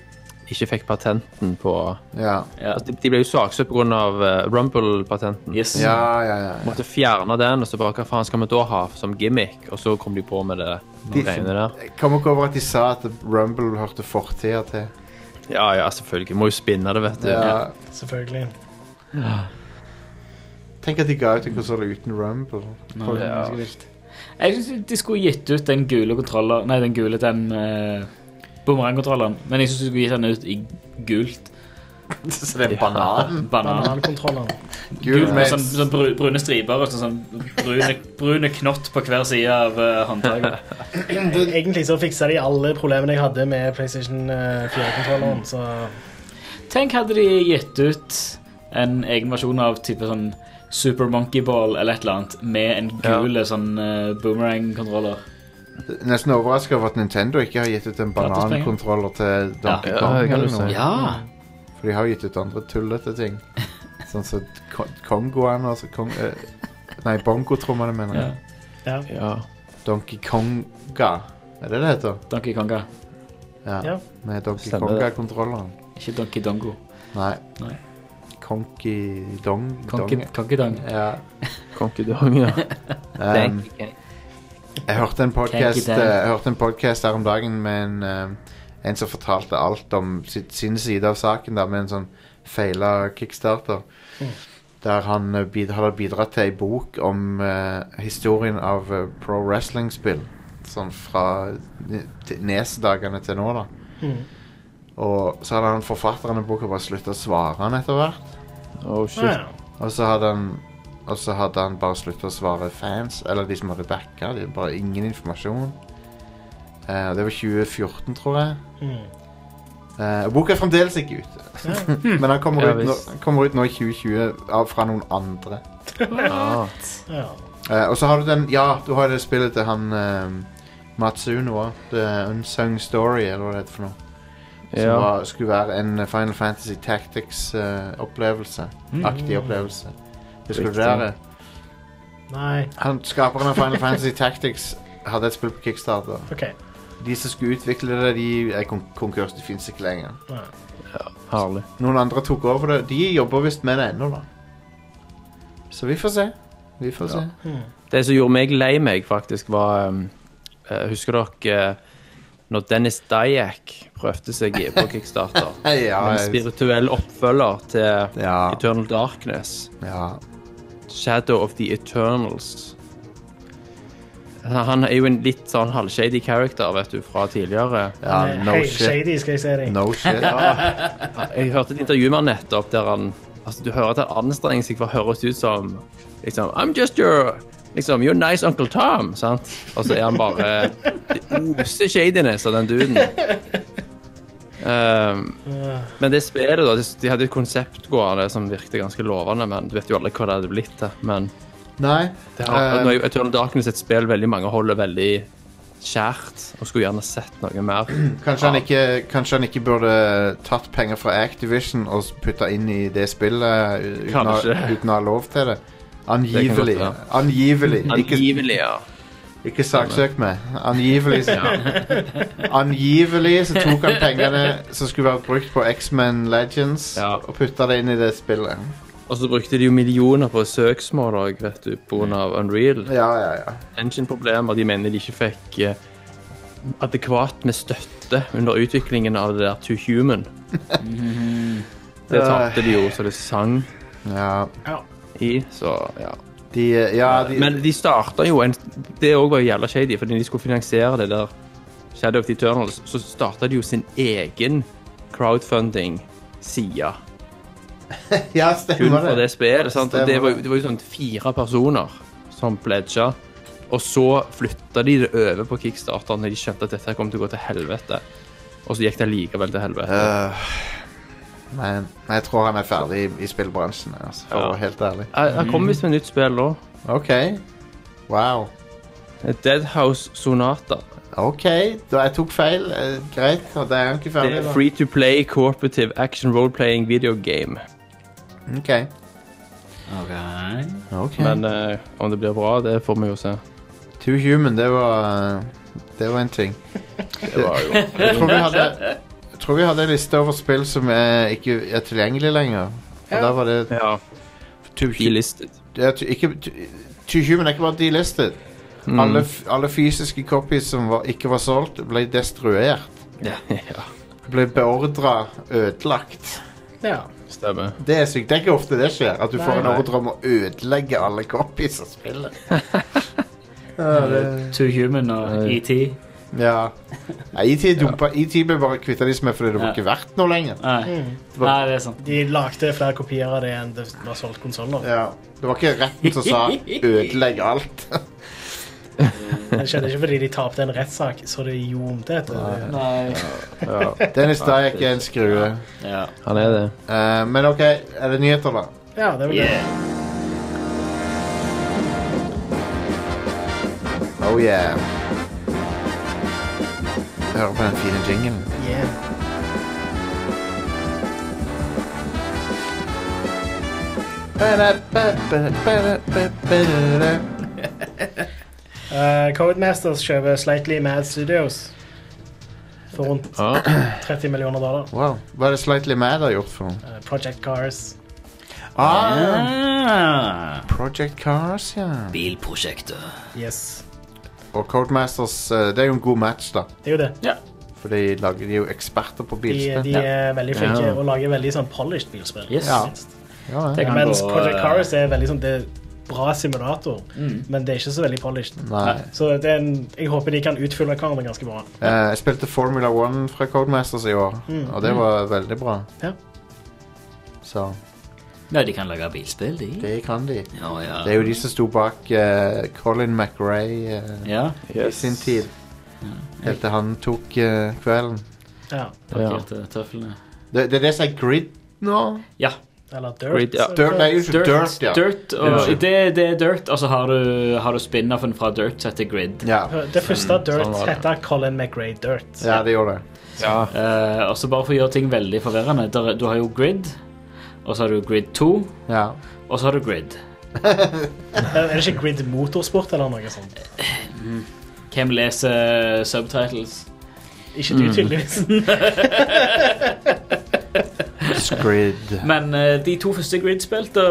Speaker 4: ikke fikk patenten på
Speaker 1: Ja,
Speaker 2: eh, ja.
Speaker 4: altså, de, de ble jo saksøkt pga. Uh, Rumble-patenten.
Speaker 2: Yes.
Speaker 1: ja, ja. ja.
Speaker 4: Måtte fjerne den, og så bare hva faen skal vi da ha som gimmick? Og så kom de på med det
Speaker 1: De-
Speaker 4: de greiene der.
Speaker 1: Jeg kom ikke over at de sa at Rumble hørte fortida til.
Speaker 4: Ja ja, selvfølgelig. Må jo spinne det, vet du.
Speaker 1: Ja.
Speaker 3: Selvfølgelig.
Speaker 1: Tenk at de ga ut en konsoll uten Rumble.
Speaker 2: Nei, det er ganske vilt. Jeg syns de skulle gitt ut den gule kontroller Nei, den gule den eh, bumerangkontrolleren. Men jeg syns de skulle gitt den ut i gult.
Speaker 1: Så det er en banan.
Speaker 2: Banan.
Speaker 3: Banankontrolleren.
Speaker 1: Gul
Speaker 2: Gult
Speaker 1: med
Speaker 2: med sånn, sånn bru- brune striper og sånn, sånn brune, brune knott på hver side av uh, håndtaket.
Speaker 3: Egentlig så fiksa de alle problemene jeg hadde med PlayStation 4-kontrolleren, så
Speaker 2: Tenk hadde de gitt ut en egen versjon av type sånn Super Monkey Ball eller et eller annet med en gul sånn eh, boomerang-kontroller.
Speaker 1: Nesten overraska over at Nintendo ikke har gitt ut en
Speaker 2: Gratis penger.
Speaker 1: banankontroller til Donkey
Speaker 4: Ja,
Speaker 1: Kong.
Speaker 4: det kan
Speaker 1: eller
Speaker 4: du
Speaker 1: noe.
Speaker 4: si.
Speaker 2: Ja!
Speaker 1: For de har gitt ut andre tullete ting. Sånn som Ko- Kongoen altså Kong, eh, Nei, bongotrommene, mener jeg.
Speaker 3: ja.
Speaker 4: Ja.
Speaker 1: Donkey Konga. Er det det heter?
Speaker 2: Donkey Konga.
Speaker 1: Ja.
Speaker 3: Ja.
Speaker 1: Med Donkey
Speaker 4: Stemmer det.
Speaker 1: Konga-kontrolleren.
Speaker 2: Ikke Donkey Dongo.
Speaker 1: Nei.
Speaker 2: Nei.
Speaker 1: Konki Dong...
Speaker 2: Konky,
Speaker 1: Dong.
Speaker 2: Konky Dong.
Speaker 1: Ja.
Speaker 4: Konkedong, ja.
Speaker 1: Um, jeg hørte en podcast,
Speaker 2: Konky Dong.
Speaker 1: eh, jeg hørte en podcast her om dagen med en, eh, en som fortalte alt om sitt, sin side av saken, da, med en sånn feila kickstarter. Der han eh, bid, hadde bidratt til ei bok om eh, historien av eh, pro wrestling-spill. Sånn fra ne- til- nes-dagene til nå, da.
Speaker 3: Mhm.
Speaker 1: Og så hadde han forfatteren av boka bare slutta å svare han etter hvert.
Speaker 4: Oh, shit.
Speaker 3: Ja, ja.
Speaker 1: Og så hadde han og så hadde han bare slutta å svare fans, eller de som hadde backa. De bare ingen informasjon. Eh, og det var 2014, tror jeg.
Speaker 3: Mm.
Speaker 1: Eh, og boka er fremdeles ikke ute. Men han kommer,
Speaker 4: Hm. Ja,
Speaker 1: ut nå,
Speaker 4: visst.
Speaker 1: han kommer ut nå i 2020 av, fra noen andre.
Speaker 4: Ah.
Speaker 3: Ja.
Speaker 1: Eh, og så har du den Ja, du har det spillet til han eh, Matsuno òg. The Unsung Story, eller hva det heter for noe. Som
Speaker 4: Ja.
Speaker 1: var, skulle være en Final Fantasy Tactics-opplevelse. aktig opplevelse. Husker du det?
Speaker 4: Hm. Riktig.
Speaker 1: Are?
Speaker 3: Nei,
Speaker 1: Han, skaperen av Final Fantasy Tactics hadde et spill på Kickstarter.
Speaker 3: OK.
Speaker 1: De som skulle utvikle det, de er kon konkurs. De fins ikke lenger.
Speaker 3: Nei.
Speaker 4: Herlig.
Speaker 1: Noen andre tok over det. De jobber visst med det ennå, da. Så vi får se. Vi får se.
Speaker 4: Det som gjorde meg lei meg, faktisk, var um, eh, Husker dere eh, når Dennis Dyack prøvde seg i- på Kickstarter?
Speaker 1: Hei, ja,
Speaker 4: En
Speaker 1: jeg-
Speaker 4: spirituell oppfølger til
Speaker 1: ja,
Speaker 4: Eternal Darkness.
Speaker 1: ja.
Speaker 4: Shadow of the Eternals. Altså, Han er jo en litt sånn halvshady character, vet du, fra tidligere.
Speaker 1: ja
Speaker 3: Nei,
Speaker 1: no
Speaker 3: hei,
Speaker 1: shit.
Speaker 3: Eh, shady, skal jeg si deg.
Speaker 1: No shit. Ja.
Speaker 4: Jeg hørte et intervju med han nettopp der han Altså, du hører at han anstrenger seg for å høres ut som liksom I'm just your Liksom, you're nice Uncle Tom, sant? Og så er han bare det oser shadiness av den duden. Um, men det spillet, da de- De hadde et konsept gående som virket ganske lovende, men du vet jo aldri hva det hadde blitt til. Men
Speaker 1: Nei.
Speaker 4: det har,
Speaker 1: eh,
Speaker 4: nå er jo Eternal Darkness et spill veldig mange holder veldig kjært, og skulle gjerne sett noe mer.
Speaker 1: Kanskje han, ikke, kanskje han ikke burde tatt penger fra Activision og putta inn i det spillet u- uten å,
Speaker 4: Kanskje.
Speaker 1: uten å ha lov til det? Angivelig.
Speaker 4: Det kan godt
Speaker 1: Angivelig. Ikke,
Speaker 4: Angivelig, ja.
Speaker 1: ikke saksøk meg. Angivelig så, Angivelig så tok han pengene som skulle vært brukt på X-Men Legends,
Speaker 4: Ja.
Speaker 1: og putta det inn i det spillet.
Speaker 4: Og så brukte de jo millioner på søksmål òg, vet du, pga. Unreal.
Speaker 1: Ja, ja, ja.
Speaker 4: Engine-problemer. De mener de ikke fikk eh, adekvat med støtte under utviklingen av det der To Human. Det tapte de jo så det sang
Speaker 1: ja.
Speaker 4: i, så ja.
Speaker 1: De, eh, ja, de,
Speaker 4: Men de starta jo en Det òg var jo jævla shady, fordi de skulle finansiere det der Shadow of the Eternals, så starta de jo sin egen crowdfunding-side.
Speaker 1: ja,
Speaker 4: kun
Speaker 1: stemmer
Speaker 4: for det
Speaker 1: det.
Speaker 4: spillet. Sant? Og
Speaker 1: Stemmer
Speaker 4: det var, jo-
Speaker 1: det.
Speaker 4: det var jo sånn fire personer som pledga. Og så flytta de det over på Kickstarter når de skjønte at dette kom til å gå til helvete. Og så gikk det likevel til helvete.
Speaker 1: Øh, men jeg tror han er ferdig i, i spillbransjen, altså, for
Speaker 4: Ja.
Speaker 1: å være helt ærlig.
Speaker 4: Jeg, jeg kom visst med et nytt spill nå.
Speaker 1: OK. Wow.
Speaker 4: Deadhouse Sonata.
Speaker 1: OK, da jeg tok feil. Eh, greit. Og det er jo ikke
Speaker 4: Det
Speaker 1: ferdig,
Speaker 4: er
Speaker 1: da.
Speaker 4: free to play cooperative action role-playing video game.
Speaker 1: OK.
Speaker 2: Alright.
Speaker 1: okay.
Speaker 4: Men eh, om det blir bra, det får vi jo se.
Speaker 1: Too Human, det var eh, Det var en ting.
Speaker 4: Det var jo
Speaker 1: Jeg tror vi hadde jeg tror vi hadde en liste over spill som er, ikke er tilgjengelig lenger. Og der var det
Speaker 4: ja,
Speaker 1: Too Human
Speaker 4: delisted.
Speaker 1: det er, ikke, Too- Too Human er ikke bare delisted. Alle, f- alle fysiske copies som var, ikke var solgt, ble destruert.
Speaker 4: Ja, ja,
Speaker 1: Ble beordra ødelagt.
Speaker 3: Ja.
Speaker 4: stemmer.
Speaker 1: Det er sykt. Det er ikke ofte det skjer. At du får en
Speaker 4: Nei.
Speaker 1: ordre om å ødelegge alle copies av spillet.
Speaker 2: Too Human og E
Speaker 4: Nei.
Speaker 2: ET.
Speaker 1: Ja. Nei, E IT dumpa IT ble bare kvitta de som er fordi det var
Speaker 2: Ja.
Speaker 1: ikke verdt noe lenger.
Speaker 2: Nei.
Speaker 1: var-
Speaker 2: Nei, det sånn. er sant.
Speaker 3: De lagde flere kopier av det enn det var solgt konsoller.
Speaker 1: Ja. Det var ikke retten som sa 'ødelegg alt'.
Speaker 3: Det skjedde ikke fordi de tapte en rettssak, så det ljomte etter.
Speaker 2: Nei.
Speaker 4: Ja,
Speaker 1: Dennis Dyack er en skrue.
Speaker 2: Ja.
Speaker 4: han er det.
Speaker 1: Eh, men OK, er det nyheter, da?
Speaker 3: Ja, det var det.
Speaker 2: Yeah.
Speaker 1: Oh yeah. Hører på den fine jinglen.
Speaker 3: Yeah. Eh, Codemasters kjøper Slightly Mad Studios for rundt
Speaker 4: Ja.
Speaker 3: 30 millioner dollar.
Speaker 1: Wow. Hva er det Slightly Mad har gjort for noe?
Speaker 3: Eh, Project Cars.
Speaker 1: Ah,
Speaker 2: Ah.
Speaker 1: Project Cars, ja.
Speaker 2: Bilprosjektet.
Speaker 3: Yes.
Speaker 1: Og Codemasters eh, Det er jo en god match, da.
Speaker 3: Det er jo det.
Speaker 1: For de lager de er jo eksperter på
Speaker 3: De,
Speaker 1: bilspill.
Speaker 3: de er veldig flinke
Speaker 4: Ja.
Speaker 3: og lager veldig sånn polished bilspill.
Speaker 2: Yes.
Speaker 1: Ja. Ja, ja.
Speaker 2: Det kan
Speaker 3: Mens
Speaker 2: gå,
Speaker 3: Project
Speaker 2: eh,
Speaker 3: Cars er veldig sånn Det er bra simulator,
Speaker 2: Mm.
Speaker 3: men det er ikke så veldig polished.
Speaker 1: Nei.
Speaker 3: Så det er en, jeg håper de kan utfylle hverandre ganske bra.
Speaker 1: Eh, jeg spilte Formula One fra Codemasters i år, og det var veldig bra.
Speaker 3: Ja.
Speaker 1: Så
Speaker 2: Nei, de kan lage bilspill, de.
Speaker 1: det kan de.
Speaker 2: Ja, ja.
Speaker 1: Det er jo de som sto bak eh, Colin McRae eh,
Speaker 2: Ja.
Speaker 1: i sin tid. Helt til han tok eh, kvelden.
Speaker 3: Ja.
Speaker 4: Ja.
Speaker 2: Parkerte tøflene.
Speaker 1: Det, det er det som er grid nå.
Speaker 2: Ja.
Speaker 3: Eller Dirt.
Speaker 4: Great, ja.
Speaker 3: så-
Speaker 1: Dirt, nei, unnskyld. Dirt, ja.
Speaker 2: Dirt, og
Speaker 4: Ja.
Speaker 2: det, det er Dirt, og så har du, har du spin-offen fra Dirt som heter Grid.
Speaker 1: Ja.
Speaker 3: Det første Dirt
Speaker 4: sånn var det.
Speaker 3: heter Colin McRae Dirt.
Speaker 1: ja, det gjorde det.
Speaker 4: Ja.
Speaker 2: Eh, og så bare for å gjøre ting veldig forvirrende der, Du har jo Grid, og så har du Grid 2,
Speaker 1: Ja.
Speaker 2: og så har du Grid.
Speaker 3: Er det ikke Grid Motorsport eller noe sånt?
Speaker 2: Hvem leser subtitles?
Speaker 3: Ikke du, tydeligvis.
Speaker 1: Squid.
Speaker 2: Men eh, de to første Grid-spilte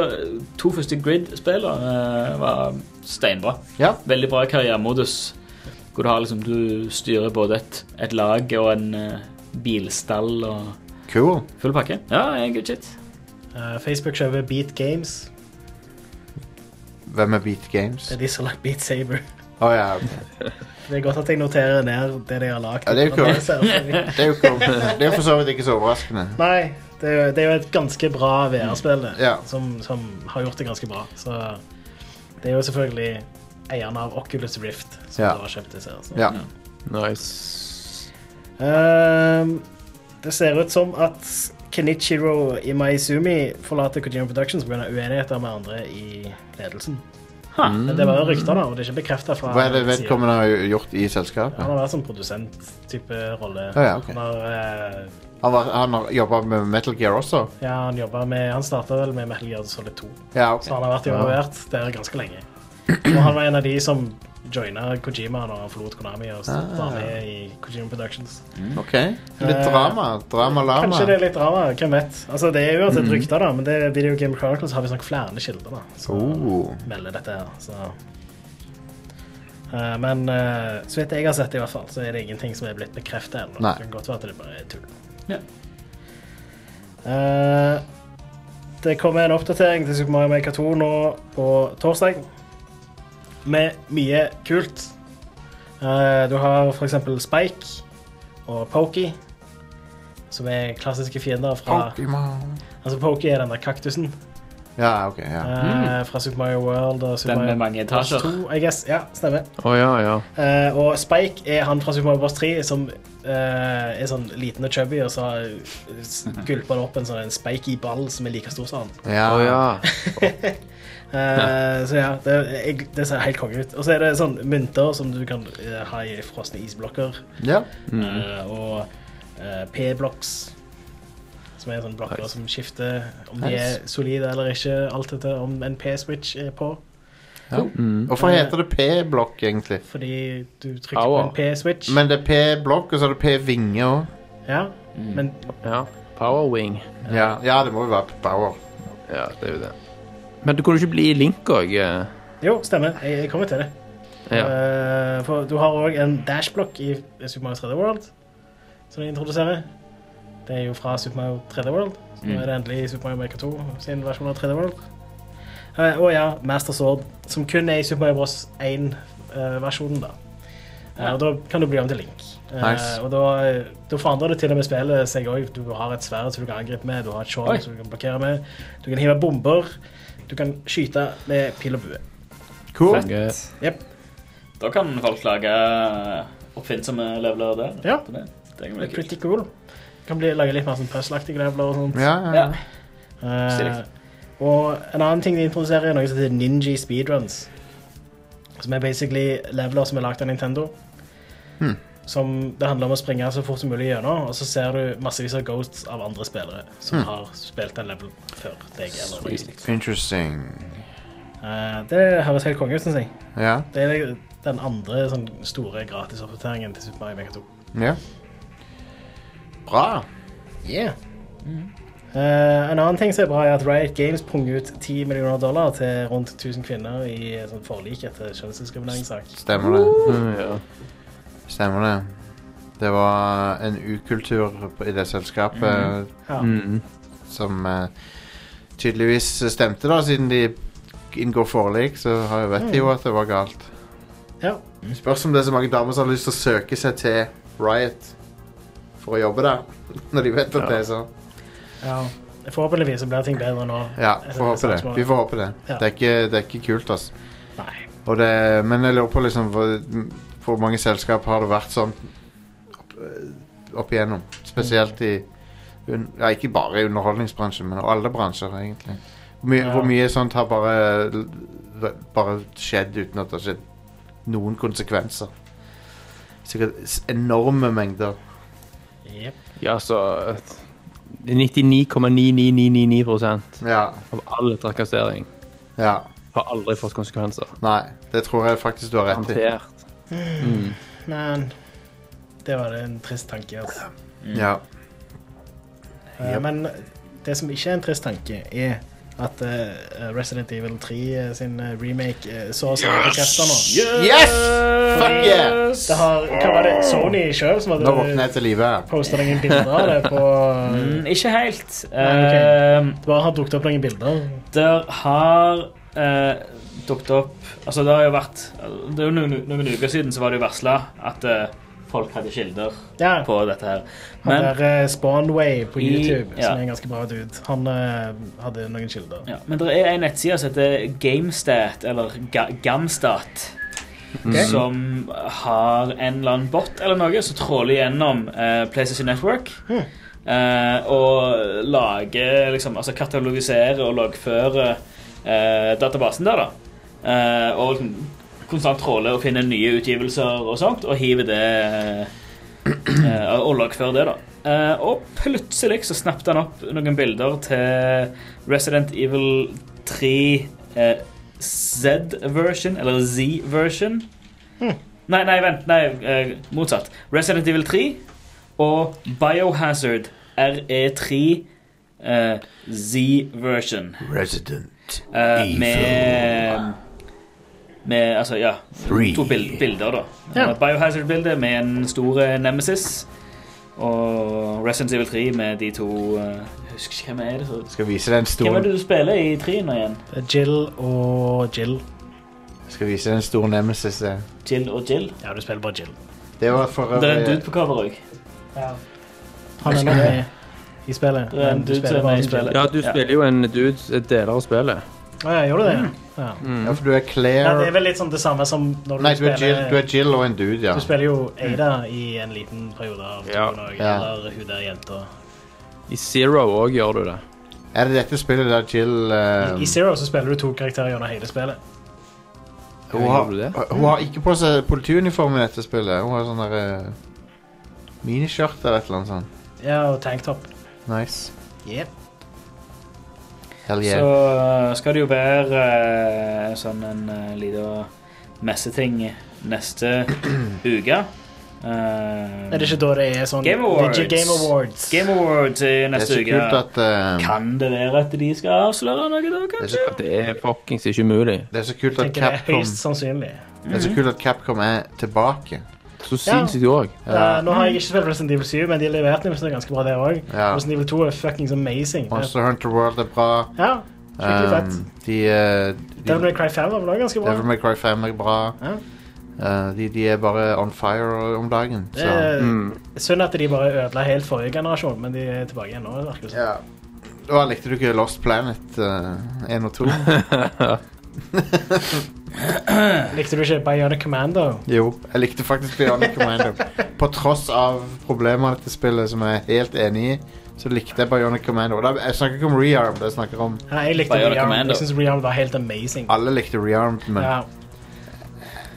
Speaker 2: To første Grid-spillene eh, var steinbra.
Speaker 1: Ja.
Speaker 2: Veldig bra karrieremodus. Hvor du har liksom Du styrer både et, et lag og en eh, bilstall og
Speaker 1: Cool.
Speaker 2: full pakke. Ja, eh, good shit.
Speaker 3: Eh, Facebook kjøper Beat Games.
Speaker 1: Hvem er Beat Games?
Speaker 3: Det er de som har lagt Beat Saber.
Speaker 1: Å ja.
Speaker 3: Det er godt at jeg noterer ned det de har lagd.
Speaker 1: Ja, det er jo kult.
Speaker 3: kult.
Speaker 1: Det er jo cool. Det er for så vidt ikke så overraskende.
Speaker 3: Nei, det er, jo, det er jo et ganske bra VR-spill det,
Speaker 1: Ja.
Speaker 3: som, som har gjort det ganske bra. Så det er jo selvfølgelig eierne av Oculus Rift som
Speaker 1: Ja.
Speaker 3: da har kjøpt disse. her, så.
Speaker 1: Ja.
Speaker 4: Nice.
Speaker 3: Ehm, det ser ut som at Kenichiro Imaizumi forlater Kojima Productions pga. uenigheter med andre i ledelsen.
Speaker 2: Ha.
Speaker 3: Men det var jo rykter, da, og det er ikke bekrefta fra
Speaker 1: Hva er det
Speaker 3: siden.
Speaker 1: vedkommende har gjort i
Speaker 3: Han
Speaker 1: selskapet?
Speaker 3: har vært sånn produsent-type rolle.
Speaker 1: Å ja, ok.
Speaker 3: Han har eh,
Speaker 1: Han, var, han har jobba med Metal Gear også?
Speaker 3: Ja, han jobba med Han starta vel med Metal Gear Solid 2,
Speaker 1: Ja, ok.
Speaker 3: så han har vært involvert der ganske lenge. Og han var en av de som joina Kojima da han forlot Konami og
Speaker 1: Ah.
Speaker 3: var med i Kojima Productions.
Speaker 1: Ok. Litt drama. Drama-lama.
Speaker 3: Eh, Kanskje det er litt drama, hvem vet. Altså, Det er jo
Speaker 1: Mm.
Speaker 3: et rykte, da, men det er Video Game Chronicles har visstnok flere kilder da, som
Speaker 1: Oh.
Speaker 3: melder dette her. så... Eh, Men eh, så vidt jeg har sett, i hvert fall, så er det ingenting som er blitt bekrefta ennå.
Speaker 1: Nei.
Speaker 3: Det kan godt være at det bare er tull.
Speaker 2: Ja.
Speaker 3: Eh, det kommer en oppdatering til Super Mario Maker 2 nå på torsdag. Med mye kult. Eh, du har for eksempel Spike og Pokey, som er klassiske fiender fra
Speaker 1: Pokémon.
Speaker 3: Altså Pokey er den der kaktusen
Speaker 1: Ja, ok. ja.
Speaker 3: eh, fra Super Mario World og Super
Speaker 2: Den
Speaker 3: Mario
Speaker 2: med mange
Speaker 3: Bros.
Speaker 2: etasjer.
Speaker 3: 2, I guess. Ja, stemmer.
Speaker 4: Å ja, ja.
Speaker 3: Eh, og Spike er han fra Super Mario Bros. 3 som eh, er sånn liten og chubby, og så s- gulper han opp en sånn en spiky ball som er like stor som han.
Speaker 1: Ja.
Speaker 4: Å ja.
Speaker 3: Eh, så ja, det, jeg, det ser helt konge ut. Og så er det sånn mynter som du kan eh, ha i frosne isblokker,
Speaker 1: Ja.
Speaker 3: eh, og eh, P-blocks. Som er sånne blokker som skifter om de er
Speaker 1: Nice.
Speaker 3: solide eller ikke. Alt etter om en P-switch er på.
Speaker 1: ja. Hvorfor heter det P-blokk, egentlig?
Speaker 3: Fordi du trykker på
Speaker 4: Power.
Speaker 3: en P-switch.
Speaker 1: Men det er P-blokk, og så er det P-vinge òg.
Speaker 3: Ja, men
Speaker 4: ja. Power wing.
Speaker 1: Ja. ja, det må jo være Power.
Speaker 4: Ja, det er jo det. Men du kunne ikke bli Link eh? òg? Ja.
Speaker 3: Jo, stemmer. Jeg, jeg kommer til det. Eh, for du har òg en dashblokk i Super Mario 3D World som de introduserer. Det er jo fra Super Mario 3D World. Så nå er det endelig Super Mario Maker 2 sin versjon av 3D World. Eh, og ja, Master Sword, som kun er i Super Mario Bros. 1-versjonen, da. Eh, og da kan du bli om til Link. Eh,
Speaker 1: Nice.
Speaker 3: Og da, da forandrer det til og med spillet seg òg. Du har et sverd som du kan angripe med, du har et
Speaker 2: Oi.
Speaker 3: skjold som du kan blokkere med, du kan hive bomber, du kan skyte med pil og bue.
Speaker 1: Cool.
Speaker 4: Fett.
Speaker 3: Jep.
Speaker 2: Da kan folk lage eh, oppfinnsomme leveler der.
Speaker 3: Ja.
Speaker 2: Det, det kan bli
Speaker 3: Det er
Speaker 2: kult.
Speaker 3: pretty cool. Kan bli, lage litt mer sånn puzzle-aktige leveler og sånt.
Speaker 1: Ja, ja.
Speaker 2: Ja.
Speaker 3: Eh,
Speaker 2: stilig.
Speaker 3: og en annen ting de introduserer, er noe som heter Ninji Speedruns. Som er basically leveler som er lagd av Nintendo. Som det handler om å springe så fort som mulig gjennom, og så ser du massevis av ghosts av andre spillere som har spilt den level før deg. Eller noe. slikt.
Speaker 1: Interesting.
Speaker 3: Eh, det høres helt konge ut, syns jeg.
Speaker 1: Ja.
Speaker 3: Det er den andre sånn, store gratisoppdateringen til Super Mario Maker 2.
Speaker 1: ja. Bra.
Speaker 3: Yeah. Mm. Eh, en annen ting som er bra, er at Riot Games punger ut 10 millioner dollar til rundt 1000 kvinner i eh, sånn forlik etter kjønnsdiskrimineringssak.
Speaker 1: Stemmer det.
Speaker 4: Mm, Ja.
Speaker 1: Stemmer det. Det var en ukultur på- i det selskapet
Speaker 3: Ja.
Speaker 4: Mm.
Speaker 1: som eh, tydeligvis stemte, da, siden de inngår forlik, så har jeg vet de jo at det var galt.
Speaker 3: ja.
Speaker 1: Spørs om det er så mange damer som har lyst til å søke seg til Riot for å jobbe der, når de vet at det er sånn.
Speaker 3: ja. Forhåpentligvis så blir ting bedre nå.
Speaker 1: Ja, får håpe det. Vi får håpe det.
Speaker 3: Ja.
Speaker 1: Det er ikke, det er ikke kult, altså.
Speaker 3: Nei.
Speaker 1: Og det, men jeg lurer på liksom hvor, hvor mange selskap har det vært sånn opp, opp igjennom? eh, Spesielt i un, ja, Ikke bare i underholdningsbransjen, men alle bransjer, egentlig. Hvor mye, hvor mye sånt har bare, bare skjedd uten at det har skjedd noen konsekvenser. Sikkert s- enorme mengder.
Speaker 3: Jep.
Speaker 4: Ja, så eh, 99,99999
Speaker 1: Ja.
Speaker 4: av all trakassering
Speaker 1: ja.
Speaker 4: har aldri fått konsekvenser.
Speaker 1: Nei, det tror jeg faktisk du har rett i.
Speaker 4: Håndtert. Mm.
Speaker 3: Men det var en trist tanke, altså.
Speaker 1: Ja.
Speaker 3: Eh,
Speaker 1: Yep.
Speaker 3: Men det som ikke er en trist tanke, er at eh, Resident Evil 3 eh, sin eh, remake eh, så så forkasta nå.
Speaker 1: Yes! Fuck yeah!
Speaker 3: Det har, hva var det Sony sjøl som
Speaker 1: Nå våkner
Speaker 3: hadde
Speaker 1: jeg til live her.
Speaker 3: posta noen bilder av det på
Speaker 2: Mm, ikke helt.
Speaker 3: Nei,
Speaker 2: Eh,
Speaker 3: Det bare har dukket opp noen bilder.
Speaker 2: Der har eh, dukket opp Altså, det har jo vært Det er jo noen, noen uker siden så var det jo varsla at eh, folk hadde kilder
Speaker 3: Ja,
Speaker 2: på dette her.
Speaker 3: han
Speaker 2: Men,
Speaker 3: der eh, Spawnway på
Speaker 2: I-
Speaker 3: YouTube,
Speaker 2: ja.
Speaker 3: som er en ganske bra dude, han eh, hadde noen kilder.
Speaker 2: ja, men det er en nettside som heter Gamestat, eller Ga Gamstat, som har en eller annen bot eller noe som tråler gjennom eh, PlayStation Network. eh, og lager liksom, altså katalogiserer og loggfører eh, databasen der, da. Eh, og liksom konstant tråler og finner nye utgivelser og sånt, og hiver det eh, Og loggfører det, da. Eh, og plutselig så snappet han opp noen bilder til Resident Evil 3 eh, Z-version, eller Z-version. Nei, nei, vent. Nei, eh, motsatt. Resident Evil 3 og Biohazard RE3 eh, Z-version.
Speaker 1: Resident
Speaker 2: Eh, med med altså, ja, to bil bilder, da.
Speaker 3: Ja.
Speaker 2: Eh, Biohazard-bildet med en stor eh, nemesis. Og Resident Evil 3 med de to eh, Jeg husker ikke hvem er det så-
Speaker 1: Skal vise den
Speaker 2: Hvem er
Speaker 1: store
Speaker 2: det du spiller i 3 nå igjen?
Speaker 3: Det er Eh, Jill og Jill.
Speaker 1: Skal vise den store nemesis. eh.
Speaker 2: Jill og Jill?
Speaker 3: Ja, du spiller bare Jill.
Speaker 1: Det var for
Speaker 2: Det er en
Speaker 1: øvrig
Speaker 2: dude på cover òg.
Speaker 3: Han er nå med i spillet.
Speaker 2: Det er en
Speaker 3: men du
Speaker 2: dude som er
Speaker 3: spiller bare
Speaker 2: med i
Speaker 3: som Jill.
Speaker 2: spillet.
Speaker 4: Ja, du spiller jo en dude et deler av spillet.
Speaker 3: Å ja, gjorde du det?
Speaker 2: Mm.
Speaker 3: Ja.
Speaker 1: Ja, for du er
Speaker 3: Ja, det er
Speaker 1: Claire
Speaker 3: vel litt sånn det samme som når du
Speaker 1: Nei, du er
Speaker 3: spiller
Speaker 1: Jill, du er Jill og en dude, ja. Mm.
Speaker 3: Du spiller jo Ada i en liten periode av
Speaker 4: Ja.
Speaker 3: turen også,
Speaker 1: Ja.
Speaker 3: eller hun der jenta.
Speaker 4: I Zero òg gjør du det.
Speaker 1: Er det dette spillet der Jill eh,
Speaker 3: I Zero så spiller du to karakterer gjennom hele spillet.
Speaker 1: hun,
Speaker 4: Gjør
Speaker 1: har,
Speaker 4: du det?
Speaker 1: hun har ikke på seg politiuniform i dette spillet. Hun har sånn der eh, miniskjørt eller et eller annet sånt.
Speaker 3: Ja, og tanktop.
Speaker 1: Nice.
Speaker 3: Yep.
Speaker 1: Hell
Speaker 2: Så
Speaker 1: Oh, yeah.
Speaker 2: eh, skal det jo være eh, sånn en uh, liten messeting neste uke. Eh,
Speaker 3: Er det ikke da det er sånn
Speaker 2: Game Awards.
Speaker 3: Digi Game Awards.
Speaker 2: Game Awards i
Speaker 1: Det er så
Speaker 2: neste uke.
Speaker 1: kult at eh,
Speaker 2: Kan det være at de skal avsløre noe da,
Speaker 1: det er
Speaker 2: kanskje?
Speaker 1: så,
Speaker 4: Det er fuckings ikke umulig.
Speaker 1: det er så kult at
Speaker 3: Tenker det er
Speaker 1: Capcom
Speaker 3: høyst sannsynlig.
Speaker 1: Det er så kult at Capcom er tilbake.
Speaker 4: Så sinnssykt òg.
Speaker 3: Eh, nå har jeg ikke spilt Resident Evil 7, men de leverte nemlig så ganske bra der òg.
Speaker 1: Ja.
Speaker 3: Resident Evil 2 er fuckings amazing. Det-
Speaker 1: Monster Hunter World er bra.
Speaker 3: Ja, skikkelig fett.
Speaker 1: Um, de, eh,
Speaker 3: Devil
Speaker 1: de
Speaker 3: May Cry 5 var vel også ganske bra.
Speaker 1: Devil May Cry 5 er bra.
Speaker 3: Ja.
Speaker 1: Eh, de, de er bare on fire om dagen.
Speaker 3: Det
Speaker 1: Så.
Speaker 3: er
Speaker 4: Mm.
Speaker 3: Synd at de bare ødela helt forrige generasjon, men de er tilbake igjen nå. virker det som.
Speaker 1: Ja. Og likte du ikke Lost Planet eh, 1 og 2?
Speaker 3: Likte du ikke Bionic Commando?
Speaker 1: jo, jeg likte faktisk Bionic Commando. På tross av problemene til spillet, som jeg er helt enig i, så likte jeg Bionic Commando. Og da, jeg snakker ikke om rearm, jeg snakker om
Speaker 3: Nei, jeg likte
Speaker 2: Bionic
Speaker 3: Rearm.
Speaker 2: Commando.
Speaker 3: Jeg synes Rearm var helt amazing.
Speaker 1: alle likte rearmed, men
Speaker 3: Ja.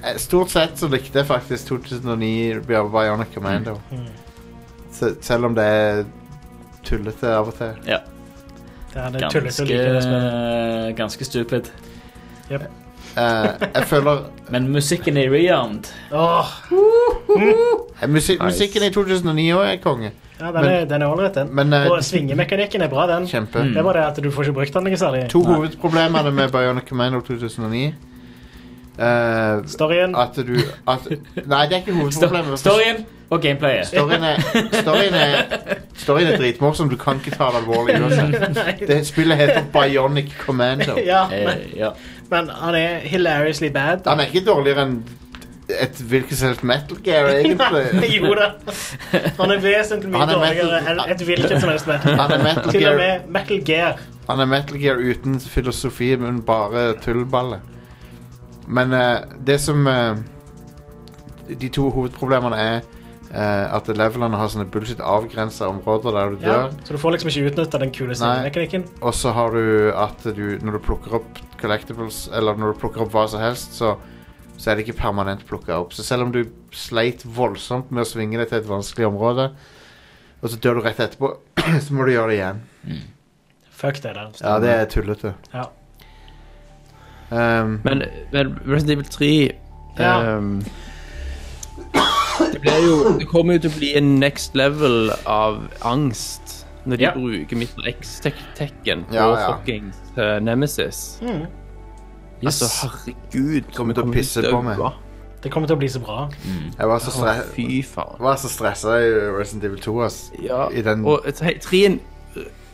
Speaker 1: eh, stort sett så likte jeg faktisk 2009 Bi- Bionic Commando.
Speaker 3: mm.
Speaker 1: Se- selv om det er tullete av og til.
Speaker 2: Ja,
Speaker 3: Det er det tullete å like det
Speaker 2: ganske,
Speaker 3: spillet.
Speaker 2: ganske stupid.
Speaker 1: Eh, jeg føler
Speaker 2: Men musikken i Rearmed
Speaker 3: Åh,
Speaker 1: Eh, musi- Musikken i 2009 også er konge.
Speaker 3: ja, den er- den er ålreit, den.
Speaker 1: Men eh,
Speaker 3: Og svingemekanikken er bra, den.
Speaker 1: kjempe.
Speaker 2: Mm.
Speaker 3: Det er bare det at du får ikke brukt den noe særlig.
Speaker 1: To hovedproblemene med Bionic Commando 2009 eh,
Speaker 3: Storyen
Speaker 1: At du at, Nei, det er ikke hovedproblemet.
Speaker 2: Storyen og gameplayet.
Speaker 1: Storyen er, storyen, er, storyen er dritmorsom. Du kan ikke ta det alvorlig
Speaker 3: Mm.
Speaker 1: uansett. Det spillet heter Bionic Commando.
Speaker 3: Ja, men,
Speaker 2: Eh, ja.
Speaker 3: men han er hilariously bad.
Speaker 1: Han er ikke dårligere enn et hvilket som helst metal gear, egentlig.
Speaker 3: jo da. Han er vesentlig mye
Speaker 1: Han er metal-
Speaker 3: dårligere enn et hvilket som helst metal.
Speaker 1: Han er metal
Speaker 3: Til og
Speaker 1: gear,
Speaker 3: med Metal Gear.
Speaker 1: han er metal gear uten filosofi, men bare tullballe. Men eh, det som eh, De to hovedproblemene er eh, at levelene har sånne bullshit avgrensa områder der du
Speaker 3: Ja,
Speaker 1: dør.
Speaker 3: så du får liksom ikke utnytta den kule
Speaker 1: Nei.
Speaker 3: mekanikken.
Speaker 1: Og så har du at du, når du plukker opp collectibles, eller når du plukker opp hva som helst, så, så er det ikke permanent plukka opp. Så selv om du sleit voldsomt med å svinge deg til et vanskelig område, og så dør du rett etterpå, så må du gjøre det igjen.
Speaker 3: Fuck det der.
Speaker 1: Ja, det er tullete.
Speaker 3: Ja.
Speaker 1: Um,
Speaker 4: Men, men Resident Evil 3
Speaker 3: Ja.
Speaker 4: ehm, det, blir jo, det kommer jo til å bli en next level av angst når de
Speaker 2: Ja.
Speaker 4: bruker Mittel X-tekken på
Speaker 1: Ja, ja.
Speaker 4: fuckings eh, Nemesis. Altså, herregud.
Speaker 1: Kommer til å
Speaker 4: kommer
Speaker 1: pisse
Speaker 4: til å
Speaker 1: på meg.
Speaker 4: dø.
Speaker 3: Det kommer til å bli så bra.
Speaker 1: jeg var så, stre
Speaker 4: Fy faen.
Speaker 1: var så stressa i Resident Evil 2, ass.
Speaker 4: Ja.
Speaker 1: I den
Speaker 4: Og eh, tre- treen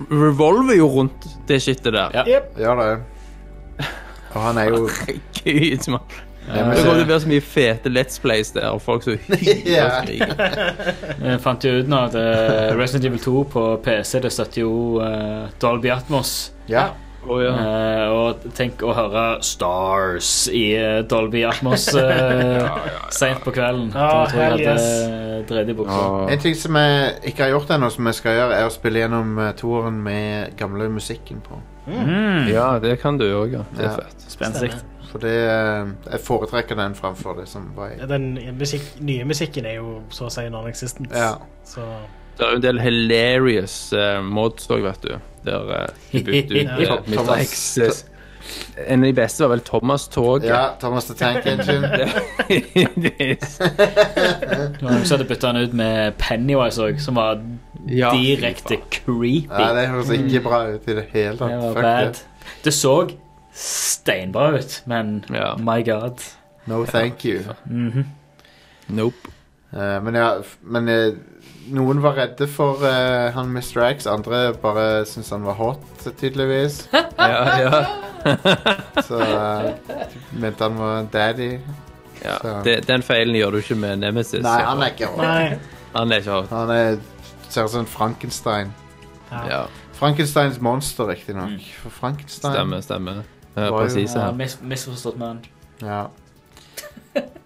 Speaker 4: revolver jo rundt det shitet der.
Speaker 2: Ja.
Speaker 3: Jep.
Speaker 1: Ja, det. Og han er jo
Speaker 4: Herregud, mann.
Speaker 2: Eh,
Speaker 4: Det kommer til å
Speaker 1: Nemesis.
Speaker 4: være så mye fete Let's Plays der, og folk som hyler
Speaker 1: Ja.
Speaker 4: og skriker.
Speaker 2: Vi fant jo ut nå at eh, Resident Evil 2 på PC det støtter jo eh, Dolby Atmos.
Speaker 1: Ja.
Speaker 4: Å, ja.
Speaker 2: Eh, og tenk å høre Stars i eh, Dolby Atmos uh, seint på kvelden.
Speaker 3: Ja,
Speaker 2: da tror jeg
Speaker 3: hell
Speaker 2: jeg
Speaker 3: yes.
Speaker 2: hadde dreid i buksa.
Speaker 4: Å.
Speaker 1: En ting som jeg ikke har gjort ennå, som jeg skal gjøre, er å spille gjennom eh, toeren med gamle musikken på.
Speaker 2: Mm.
Speaker 4: Ja, det kan du òg, ja. Det
Speaker 1: Ja.
Speaker 4: er fett.
Speaker 2: Spenstig.
Speaker 1: For det eh, Jeg foretrekker den framfor det som var i
Speaker 3: Den musikk, nye musikken er jo så å si non-existent.
Speaker 1: Ja.
Speaker 3: Så
Speaker 4: Det er jo en del hilarious uh, mods òg, vet du. Der eh, de bytte ut eh,
Speaker 1: Ja.
Speaker 4: Mr.
Speaker 1: Thomas-
Speaker 4: X. eh, En av de beste var vel Thomas Tog.
Speaker 1: Ja, Thomas the Tank Engine.
Speaker 2: Det var noen som hadde bytta den ut med Pennywise òg, som var
Speaker 4: Ja, fy
Speaker 2: direkte
Speaker 4: faen.
Speaker 2: creepy.
Speaker 1: Nei, det høres ikke bra ut i det hele
Speaker 2: det
Speaker 1: tatt.
Speaker 2: var
Speaker 1: Fuck
Speaker 2: bad.
Speaker 1: det.
Speaker 2: Det så steinbra ut, men
Speaker 4: Ja.
Speaker 2: my god.
Speaker 1: No thank you.
Speaker 2: Mhm.
Speaker 4: Nope.
Speaker 1: Eh, men ja, f- men eh, noen var redde for eh, han Mr. X, andre bare syntes han var hot, tydeligvis.
Speaker 4: Ja, ja.
Speaker 1: Så eh, mente han var daddy.
Speaker 4: ja.
Speaker 1: Så-
Speaker 4: Det, den feilen gjør du ikke med Nemesis.
Speaker 1: Nei, han er ikke hot.
Speaker 3: Nei.
Speaker 4: Han er ikke hot.
Speaker 1: Han er, ser ut som en Frankenstein.
Speaker 4: Ja,
Speaker 1: Frankensteins monster, riktignok. For Frankenstein
Speaker 4: stemmer, stemmer.
Speaker 1: Var
Speaker 4: Ja,
Speaker 1: jo-
Speaker 4: presis.
Speaker 2: Ja,
Speaker 4: Ja.
Speaker 2: mis misforstått mann.
Speaker 1: Ja.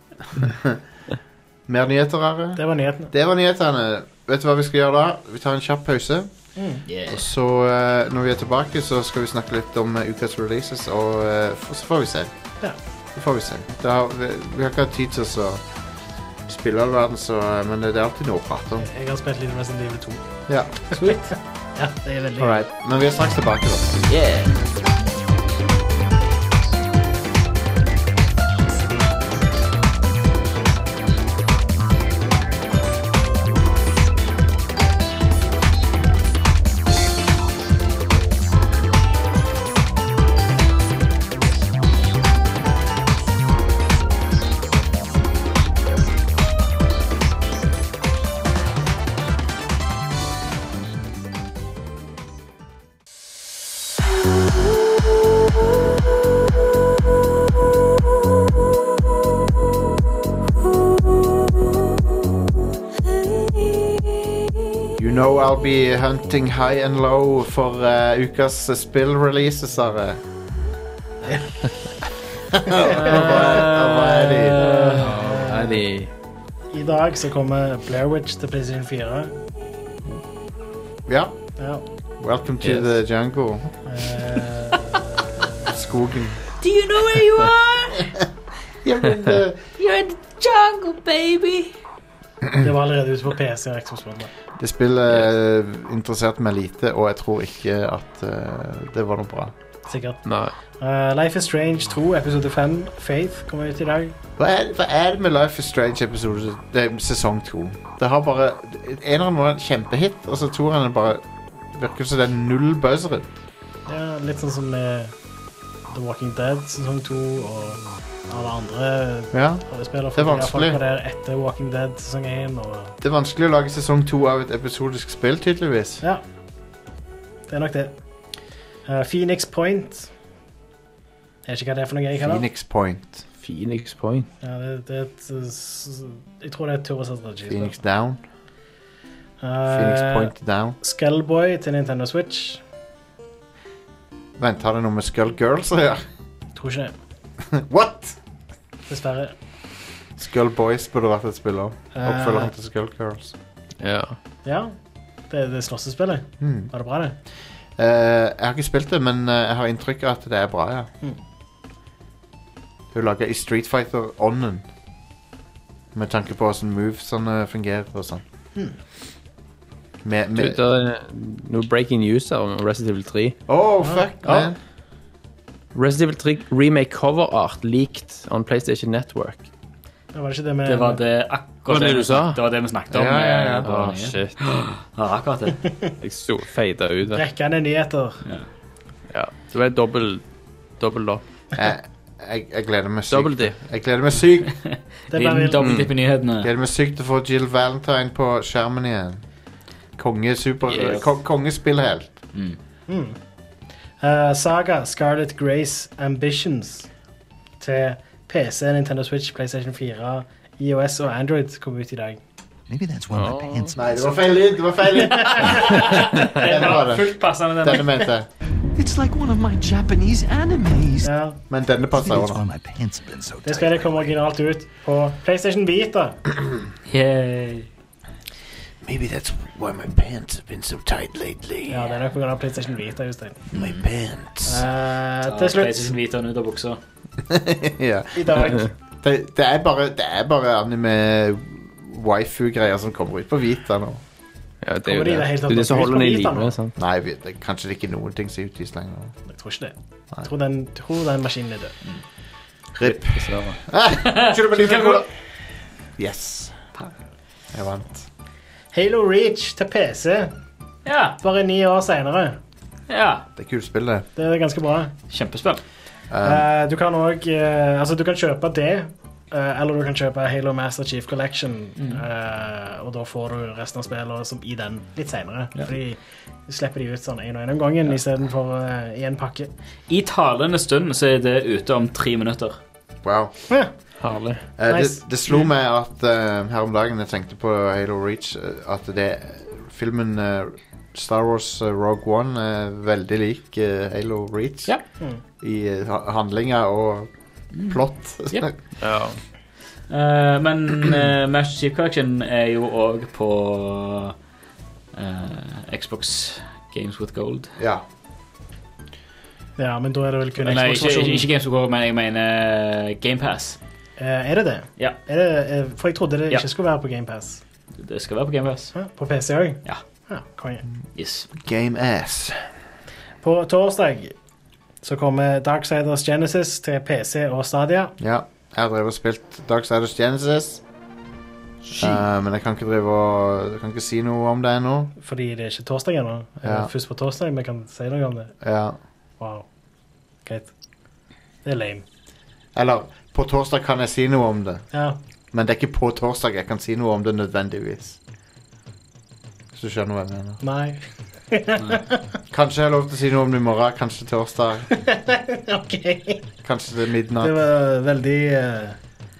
Speaker 1: Mer nyheter, Are?
Speaker 3: Det var nyhetene.
Speaker 1: Det var nyhetene. Vet du hva vi skal gjøre da? Vi tar en kjapp pause. Og så, eh, når vi er tilbake, så skal vi snakke litt om eh, ukas releases, og eh, f- så får vi se.
Speaker 3: Ja.
Speaker 1: Så får vi se. Det har, vi, vi har ikke hatt tid til å så spille all verden, så, eh, men det er alltid noe å prate om.
Speaker 3: Jeg har spilt litt Resident Evil 2.
Speaker 1: Ja.
Speaker 3: Sweet. Ja, det er veldig
Speaker 1: All right. Men vi er straks tilbake, da. You know I'll be hunting high and low for eh, ukas eh, spill-releases, Are. Og hva er- og hva er de?
Speaker 4: Er de
Speaker 3: I dag så kommer Blairwitch til PlayStation 4.
Speaker 1: Ja,
Speaker 3: Ja.
Speaker 1: welcome to
Speaker 4: Yes.
Speaker 1: the jungle.
Speaker 3: Eh,
Speaker 1: Skogen.
Speaker 7: Do you know where you are?
Speaker 1: Ja, men eh, det,
Speaker 7: You're in the jungle, baby.
Speaker 3: det var allerede ute på PC. og Xbox One, da.
Speaker 1: det spillet eh, interesserte meg lite, og jeg tror ikke at eh, det var noe bra.
Speaker 3: Sikkert.
Speaker 4: Nei.
Speaker 3: Eh, Life is Strange 2, episode 5, Faith, kommer ut i dag.
Speaker 1: Hva er, hva er det med Life is Strange episode, det er sesong to? Det har bare Eneren var en kjempehit, og så toeren er bare Virker som det er null buzzere.
Speaker 3: Ja, litt sånn som med The Walking Dead sesong 2 og alle andre
Speaker 1: Ja.
Speaker 3: rollespillere.
Speaker 1: Det er vanskelig.
Speaker 3: Folk var der etter Walking Dead sesong 1. Og
Speaker 1: Det er vanskelig å lage sesong to av et episodisk spill, tydeligvis.
Speaker 3: ja. Det er nok det. Eh, Phoenix Point. Jeg vet ikke hva det er for noe jeg kaller det.
Speaker 1: Phoenix Point.
Speaker 4: Phoenix Point.
Speaker 3: Ja, det, det er et, eh, s- jeg tror det er et turiststrategi.
Speaker 1: Phoenix Down. Phoenix Point Down.
Speaker 3: Eh, Skullboy til Nintendo Switch.
Speaker 1: Vent, har det noe med Skull Girls å gjøre?
Speaker 3: Tror ikke det,
Speaker 1: What?!
Speaker 3: dessverre.
Speaker 1: Skull Boys burde vært et spill òg. Oppfølgeren til Skull Girls.
Speaker 4: Ja.
Speaker 3: Ja. Det, det slåssespillet.
Speaker 1: Mm.
Speaker 3: Var det bra, det?
Speaker 1: Eh, jeg har ikke spilt det, men eh, jeg har inntrykk av at det er bra, ja.
Speaker 3: Mm.
Speaker 1: Hun lager i Street Fighter-ånden. Med tanke på åssen movesene fungerer og sånn. Med,
Speaker 4: Du,
Speaker 1: med
Speaker 4: det er noe breaking news her om Resident Evil 3.
Speaker 1: Oh, fuck,
Speaker 4: Ja.
Speaker 1: man!
Speaker 4: Resident Evil 3 remake cover art leaked on PlayStation Network.
Speaker 3: Det var ikke det med
Speaker 2: Det var det akkurat
Speaker 4: Var det
Speaker 2: vi-
Speaker 4: du sa?
Speaker 2: Det var det vi snakket om.
Speaker 1: Ja, ja, ja.
Speaker 2: eh, på
Speaker 4: Å,
Speaker 2: nye.
Speaker 4: Ah, shit.
Speaker 2: Ja, akkurat det.
Speaker 4: Jeg so fada ut. vet du.
Speaker 3: Rekkende nyheter.
Speaker 4: Ja. Det ble dobbel dobbel opp.
Speaker 1: Jeg, jeg, jeg gleder meg
Speaker 4: Double
Speaker 1: sykt.
Speaker 4: dip.
Speaker 1: Jeg gleder meg sykt
Speaker 3: Det er
Speaker 2: Liten
Speaker 3: bare
Speaker 2: dobbeltdipp i nyhetene.
Speaker 1: gleder meg sykt til å få Jill Valentine på skjermen igjen. Konge super,
Speaker 4: Yes.
Speaker 1: ko, Kongespillhelt.
Speaker 2: Mm.
Speaker 3: Mm. Eh, saga Scarlet Grace Ambitions til PC, Nintendo Switch, PlayStation 4, IOS og Android kom ut i dag.
Speaker 8: Maybe that's why
Speaker 4: Oh.
Speaker 8: my pants.
Speaker 1: Nei, det var feil lyd! Det var feil lyd! Den var det.
Speaker 2: Fullt passende, den.
Speaker 1: Denne mente jeg.
Speaker 8: It's like one of my Japanese animes.
Speaker 3: Ja,
Speaker 1: Men denne
Speaker 8: Maybe
Speaker 1: passer
Speaker 8: that's why
Speaker 1: over.
Speaker 8: my pants have been so
Speaker 3: det
Speaker 8: tight.
Speaker 3: spillet kom originalt ut på PlayStation Vita.
Speaker 2: Yay.
Speaker 8: Maybe that's why my pants have been so tight lately.
Speaker 3: Ja, det er nok pga. PlayStation Vita. Jostein.
Speaker 8: My pants.
Speaker 3: Eh,
Speaker 2: Ja,
Speaker 3: til slutt
Speaker 2: PlayStation Vita under buksa.
Speaker 1: ja.
Speaker 3: i dag
Speaker 1: det, det er bare, det er bare anime waifu-greier som kommer ut på Vita nå.
Speaker 4: Ja, det
Speaker 3: Kommer
Speaker 4: er jo
Speaker 3: de i
Speaker 4: det.
Speaker 3: det hele
Speaker 4: Det
Speaker 3: tatt
Speaker 4: er det som
Speaker 3: ut på
Speaker 4: holder den i
Speaker 3: Vita nå?
Speaker 4: live. sant?
Speaker 1: Nei, vi- det, kanskje det ikke er noen ting som utgis lenger.
Speaker 3: Jeg tror ikke det. Jeg tror den, tror den maskinen er død.
Speaker 1: RIP.
Speaker 4: Dessverre.
Speaker 1: Ah, skjønner du meg, Nicola? yes. Jeg vant.
Speaker 3: Halo Reach til PC,
Speaker 2: Ja.
Speaker 3: bare ni år seinere.
Speaker 2: ja.
Speaker 1: Det er kult spill, det.
Speaker 3: Det er ganske bra.
Speaker 2: Kjempespill.
Speaker 1: Um,
Speaker 3: Eh, du kan òg Altså, du kan kjøpe det, eh, eller du kan kjøpe Halo Master Chief Collection, eh, og da får du resten av spillet som i den litt seinere.
Speaker 2: Ja.
Speaker 3: Fordi du slipper de ut sånn én og én om gangen istedenfor eh, i en pakke.
Speaker 2: I talende stund så er det ute om tre minutter.
Speaker 1: wow.
Speaker 3: Ja.
Speaker 4: Herlig.
Speaker 1: Eh,
Speaker 3: Nice.
Speaker 1: det, det slo meg at eh, her om dagen jeg tenkte på Halo Reach, eh, at det filmen eh, Star Wars eh, Rogue One er veldig lik eh, Halo Reach
Speaker 2: Ja. Mm.
Speaker 3: Mm.
Speaker 1: i eh, ha- handlinger og plott.
Speaker 2: Ja.
Speaker 4: Ja.
Speaker 2: Eh, men uh, Master Chief Collection er jo òg på eh, Xbox Games with Gold.
Speaker 1: ja.
Speaker 3: ja, men da er det vel kun
Speaker 2: Nei, ikke, ikke,
Speaker 3: Xbox-versjonen.
Speaker 2: ikke Games with Gold, men jeg mener GamePass.
Speaker 3: Eh, er det det?
Speaker 2: Ja.
Speaker 3: Er det eh, for jeg trodde det
Speaker 2: Ja.
Speaker 3: ikke skulle være på GamePass.
Speaker 2: Det skal være på GamePass.
Speaker 3: På PC òg?
Speaker 2: Ja.
Speaker 3: ja konge.
Speaker 2: Yes.
Speaker 1: Game ass.
Speaker 3: På torsdag så kommer Darksiders Genesis til PC og Stadia.
Speaker 1: Ja, jeg har drevet og spilt Darksiders Genesis. Eh, men jeg kan ikke drive og Jeg kan ikke si noe om det ennå.
Speaker 3: Fordi det er ikke torsdag ennå.
Speaker 1: Ja.
Speaker 3: Eh, Først på torsdag, vi kan si noe om det.
Speaker 1: Ja.
Speaker 3: Wow. Greit. Det er lame.
Speaker 1: Eller på torsdag kan jeg si noe om det,
Speaker 3: Ja.
Speaker 1: men det er ikke på torsdag jeg kan si noe om det nødvendigvis. Hvis du skjønner hva jeg mener.
Speaker 3: Nei.
Speaker 1: Kanskje jeg har lov til å si noe om det i morgen, kanskje torsdag,
Speaker 3: OK. Det
Speaker 1: kanskje det er midnatt.
Speaker 3: var veldig eh,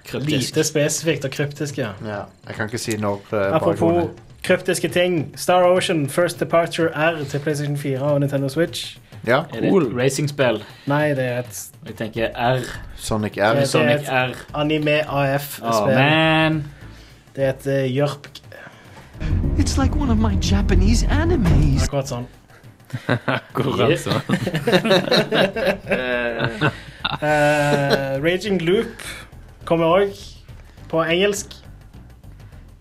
Speaker 2: Kryptisk.
Speaker 3: lite spesifikt og kryptisk, ja.
Speaker 1: Ja, jeg kan ikke si når eh, det er bakgrunnen.
Speaker 3: Apropos kryptiske ting. Star Ocean First Departure R til PlayStation 4 og Nintendo Switch.
Speaker 1: Ja,
Speaker 2: Er det et racingspill?
Speaker 3: Nei, det er et
Speaker 2: Jeg tenker R.
Speaker 1: Sonic R.
Speaker 3: Det-
Speaker 2: Sonic R.
Speaker 3: anime
Speaker 2: Oh,
Speaker 3: AF-spill.
Speaker 2: man.
Speaker 3: det er et eh, jørp.
Speaker 8: It's like one of my Japanese animes.
Speaker 3: Akkurat sånn.
Speaker 4: Akkurat sånn.
Speaker 3: Eh, Raging Loop kommer òg på engelsk.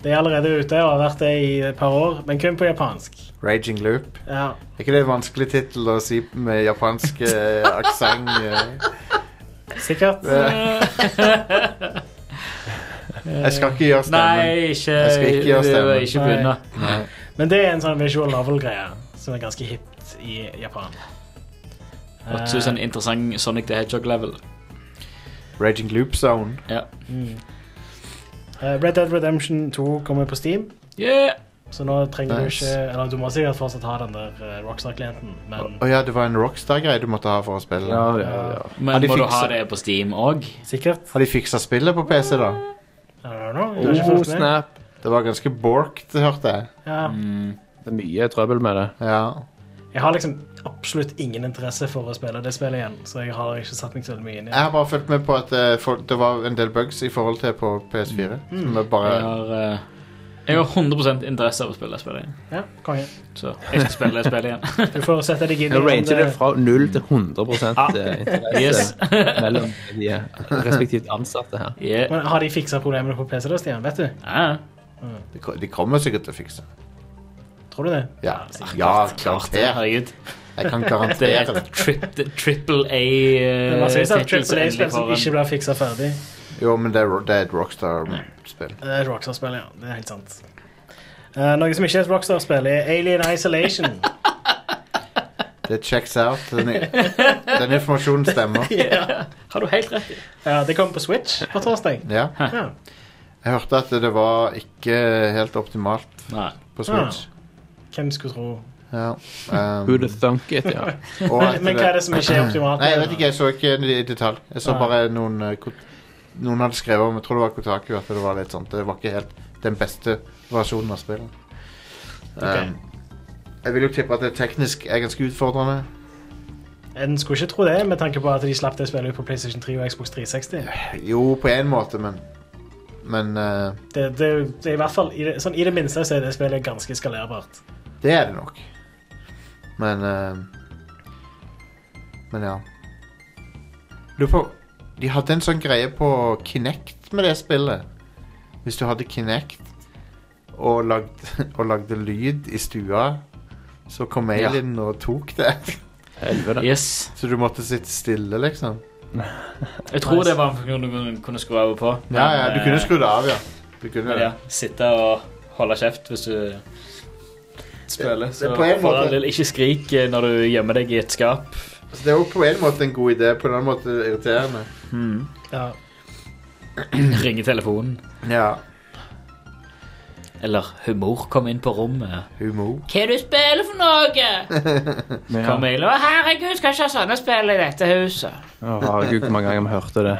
Speaker 3: Det er allerede ute og har vært det i et par år, men kun på japansk.
Speaker 1: Raging Loop.
Speaker 3: Ja.
Speaker 1: Er ikke det en vanskelig tittel å si med japansk eh, aksent? eh?
Speaker 3: Sikkert.
Speaker 1: Jeg skal ikke gjøre stemmen.
Speaker 2: Nei, ikke
Speaker 1: Jeg skal ikke gjøre stemmen.
Speaker 2: Ikke begynne.
Speaker 3: Men det er en sånn visual novel-greie som er ganske hipt i Japan. Eh,
Speaker 2: Hørtes ut som en interessant Sonic the Hedgehog-level.
Speaker 1: Raging Loop Zone.
Speaker 2: Ja.
Speaker 3: Eh, Red Dead Redemption 2 kommer på Steam,
Speaker 2: Yeah.
Speaker 3: så nå trenger
Speaker 1: Nice.
Speaker 3: du ikke Eller du må sikkert fortsatt ha den der eh, Rockstar-klienten,
Speaker 1: Å
Speaker 3: men
Speaker 1: å ja, det var en Rockstar-greie du måtte ha for å spille.
Speaker 4: Ja, ja, ja.
Speaker 1: Har
Speaker 2: Men
Speaker 1: de
Speaker 2: må du
Speaker 1: fikset-
Speaker 2: ha det på Steam òg?
Speaker 3: sikkert.
Speaker 1: Har de fiksa spillet på PC, da?
Speaker 3: I don't know. Jeg har ikke
Speaker 4: Oh,
Speaker 3: fulgt med.
Speaker 4: snap.
Speaker 1: Det var ganske borked, hørte jeg.
Speaker 2: Mm.
Speaker 3: Ja.
Speaker 4: Det er mye trøbbel med det.
Speaker 1: Ja.
Speaker 3: Jeg har liksom absolutt ingen interesse for å spille det spillet igjen, så jeg har ikke satt meg så veldig mye inn
Speaker 1: Jeg
Speaker 3: i det.
Speaker 1: har bare fulgt med på at eh, folk, det var en del bugs i forhold til på PS4. Som er bare
Speaker 2: Jeg har, eh, jeg har 100 interesse av å spille det spillet igjen.
Speaker 3: Ja, konge.
Speaker 2: Så jeg skal spille det spillet igjen.
Speaker 3: Du får sette deg inn i
Speaker 4: Jeg
Speaker 3: om
Speaker 4: ranger det Ah. fra 0 til 100
Speaker 2: Yes.
Speaker 4: interesse mellom de eh, respektivt ansatte her.
Speaker 2: Yeah. Ah,
Speaker 3: Men Har de fiksa problemene på PC da, Stian? Vet du?
Speaker 2: Ja, ja.
Speaker 1: de, ko- de kommer sikkert til å fikse det.
Speaker 3: Tror du det?
Speaker 1: Ja, ja garantert.
Speaker 2: Herregud.
Speaker 1: Jeg kan
Speaker 2: Det er
Speaker 1: garantere det.
Speaker 2: et tri- triple
Speaker 3: Det
Speaker 2: Eh,
Speaker 3: var sikkert et
Speaker 2: A-tittel
Speaker 3: sånn Triple A-spill som ikke blir fiksa ferdig.
Speaker 1: Jo, men det er, ro- det er et Rockstar-spill.
Speaker 3: Det er et Rockstar-spill, ja. Det er helt sant. Eh, noe som ikke er et Rockstar-spill, er Alien Isolation.
Speaker 1: Det checks out. Den, den informasjonen stemmer.
Speaker 2: Har du helt rett i.
Speaker 3: Ja, det kom på Switch på torsdag.
Speaker 1: Ja.
Speaker 3: Ja.
Speaker 1: Jeg hørte at det var ikke helt optimalt
Speaker 2: Nei.
Speaker 1: på Switch.
Speaker 3: Hvem skulle tro
Speaker 1: Ja.
Speaker 4: Who
Speaker 1: Um,
Speaker 4: the thunk it, ja.
Speaker 1: og at
Speaker 3: Men hva er det som ikke er optimalt?
Speaker 1: Nei, jeg vet ikke. Jeg så ikke det i detalj. Jeg så
Speaker 3: Nei.
Speaker 1: bare noen eh, kot- Noen hadde skrevet om Jeg tror det var Kotaku at det var litt sånn Det var ikke helt den beste versjonen av spillet. Um, jeg vil jo tippe at det teknisk er ganske utfordrende.
Speaker 3: En skulle ikke tro det, med tanke på at de slapp det spillet ut på PlayStation 3 og Xbox 360.
Speaker 1: Jo, på én måte, men Men eh,
Speaker 3: Det, det, det er i hvert fall, i det, sånn, I det minste så er det spillet ganske skalerbart.
Speaker 1: det er det nok. Men eh, Men ja. Lurer på De hadde en sånn greie på Kinect med det spillet. Hvis du hadde Kinect og lagde, og lagde lyd i stua, så kom Alien og tok det.
Speaker 4: Helvete.
Speaker 2: Yes.
Speaker 1: Så du måtte sitte stille, liksom.
Speaker 2: Jeg tror det var en funksjon du kunne- kunne skru av og på.
Speaker 1: Ja, ja, du kunne
Speaker 2: skru
Speaker 1: skru det av, ja. Du kunne
Speaker 2: av.
Speaker 1: det.
Speaker 2: Ja, sitte og holde kjeft hvis du spiller.
Speaker 1: Det- det er
Speaker 2: Så
Speaker 1: på en
Speaker 2: for
Speaker 1: måte-
Speaker 2: all del, ikke skrik eh, når du gjemmer deg i et skap.
Speaker 1: Så det er jo på en måte en god idé, på en annen måte irriterende.
Speaker 3: Ja.
Speaker 2: Ringe telefonen.
Speaker 1: Ja.
Speaker 2: Eller humor kom inn på rommet.
Speaker 1: Humor.
Speaker 7: Hva er det du spiller for noe?
Speaker 4: Ja.
Speaker 2: Kom inn
Speaker 7: Å,
Speaker 2: og
Speaker 7: herregud, skal ikke ha sånne spill i dette huset.
Speaker 4: Å, herregud, hvor mange ganger vi hørte det.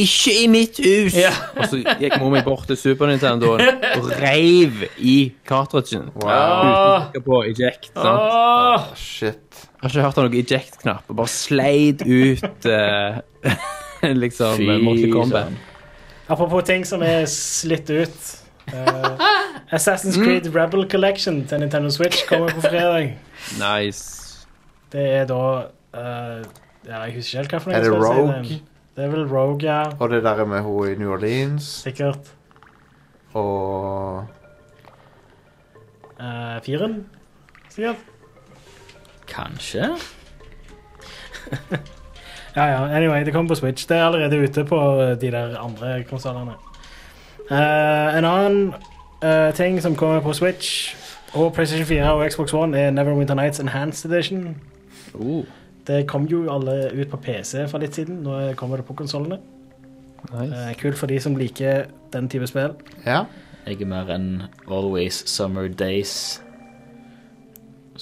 Speaker 4: Ikke i mitt hus!
Speaker 2: Ja.
Speaker 4: Og så gikk mor mi bort til Super Nintendoen og reiv i cartridgen.
Speaker 1: Wow.
Speaker 4: Uten å trykke på eject. Sant?
Speaker 2: Åh!
Speaker 1: Shit.
Speaker 4: Jeg har ikke hørt om noen eject-knapp. Og bare sleid ut eh, liksom
Speaker 2: Fy
Speaker 4: Mortal Kombat.
Speaker 2: søren.
Speaker 3: Apropos ting som er slitt ut. eh, Assassin's Creed
Speaker 1: Mm.
Speaker 3: Rebel Collection til Nintendo Switch kommer på fredag.
Speaker 4: Nice.
Speaker 3: Det er da eh, Ja, jeg husker ikke helt hva for noe
Speaker 1: Er det
Speaker 3: spill sier
Speaker 1: Rogue?
Speaker 3: Det er vel Rogue, ja.
Speaker 1: Og det der med hun i New Orleans
Speaker 3: Sikkert.
Speaker 1: og
Speaker 3: eh, firen, sikkert.
Speaker 2: Kanskje?
Speaker 3: Ja, ja. Anyway, det kommer på Switch. Det er allerede ute på eh, de der andre konsollene. Eh, en annen eh, ting som kommer på Switch og PlayStation 4 og Xbox One, er Neverwinter Nights Enhanced Edition.
Speaker 4: Oh,
Speaker 3: Det kom jo alle ut på PC for litt siden. Nå kommer det på konsollene. Eh,
Speaker 4: nice.
Speaker 3: kult for de som liker den type spill.
Speaker 1: Ja.
Speaker 2: Jeg er mer enn Always Summer Days.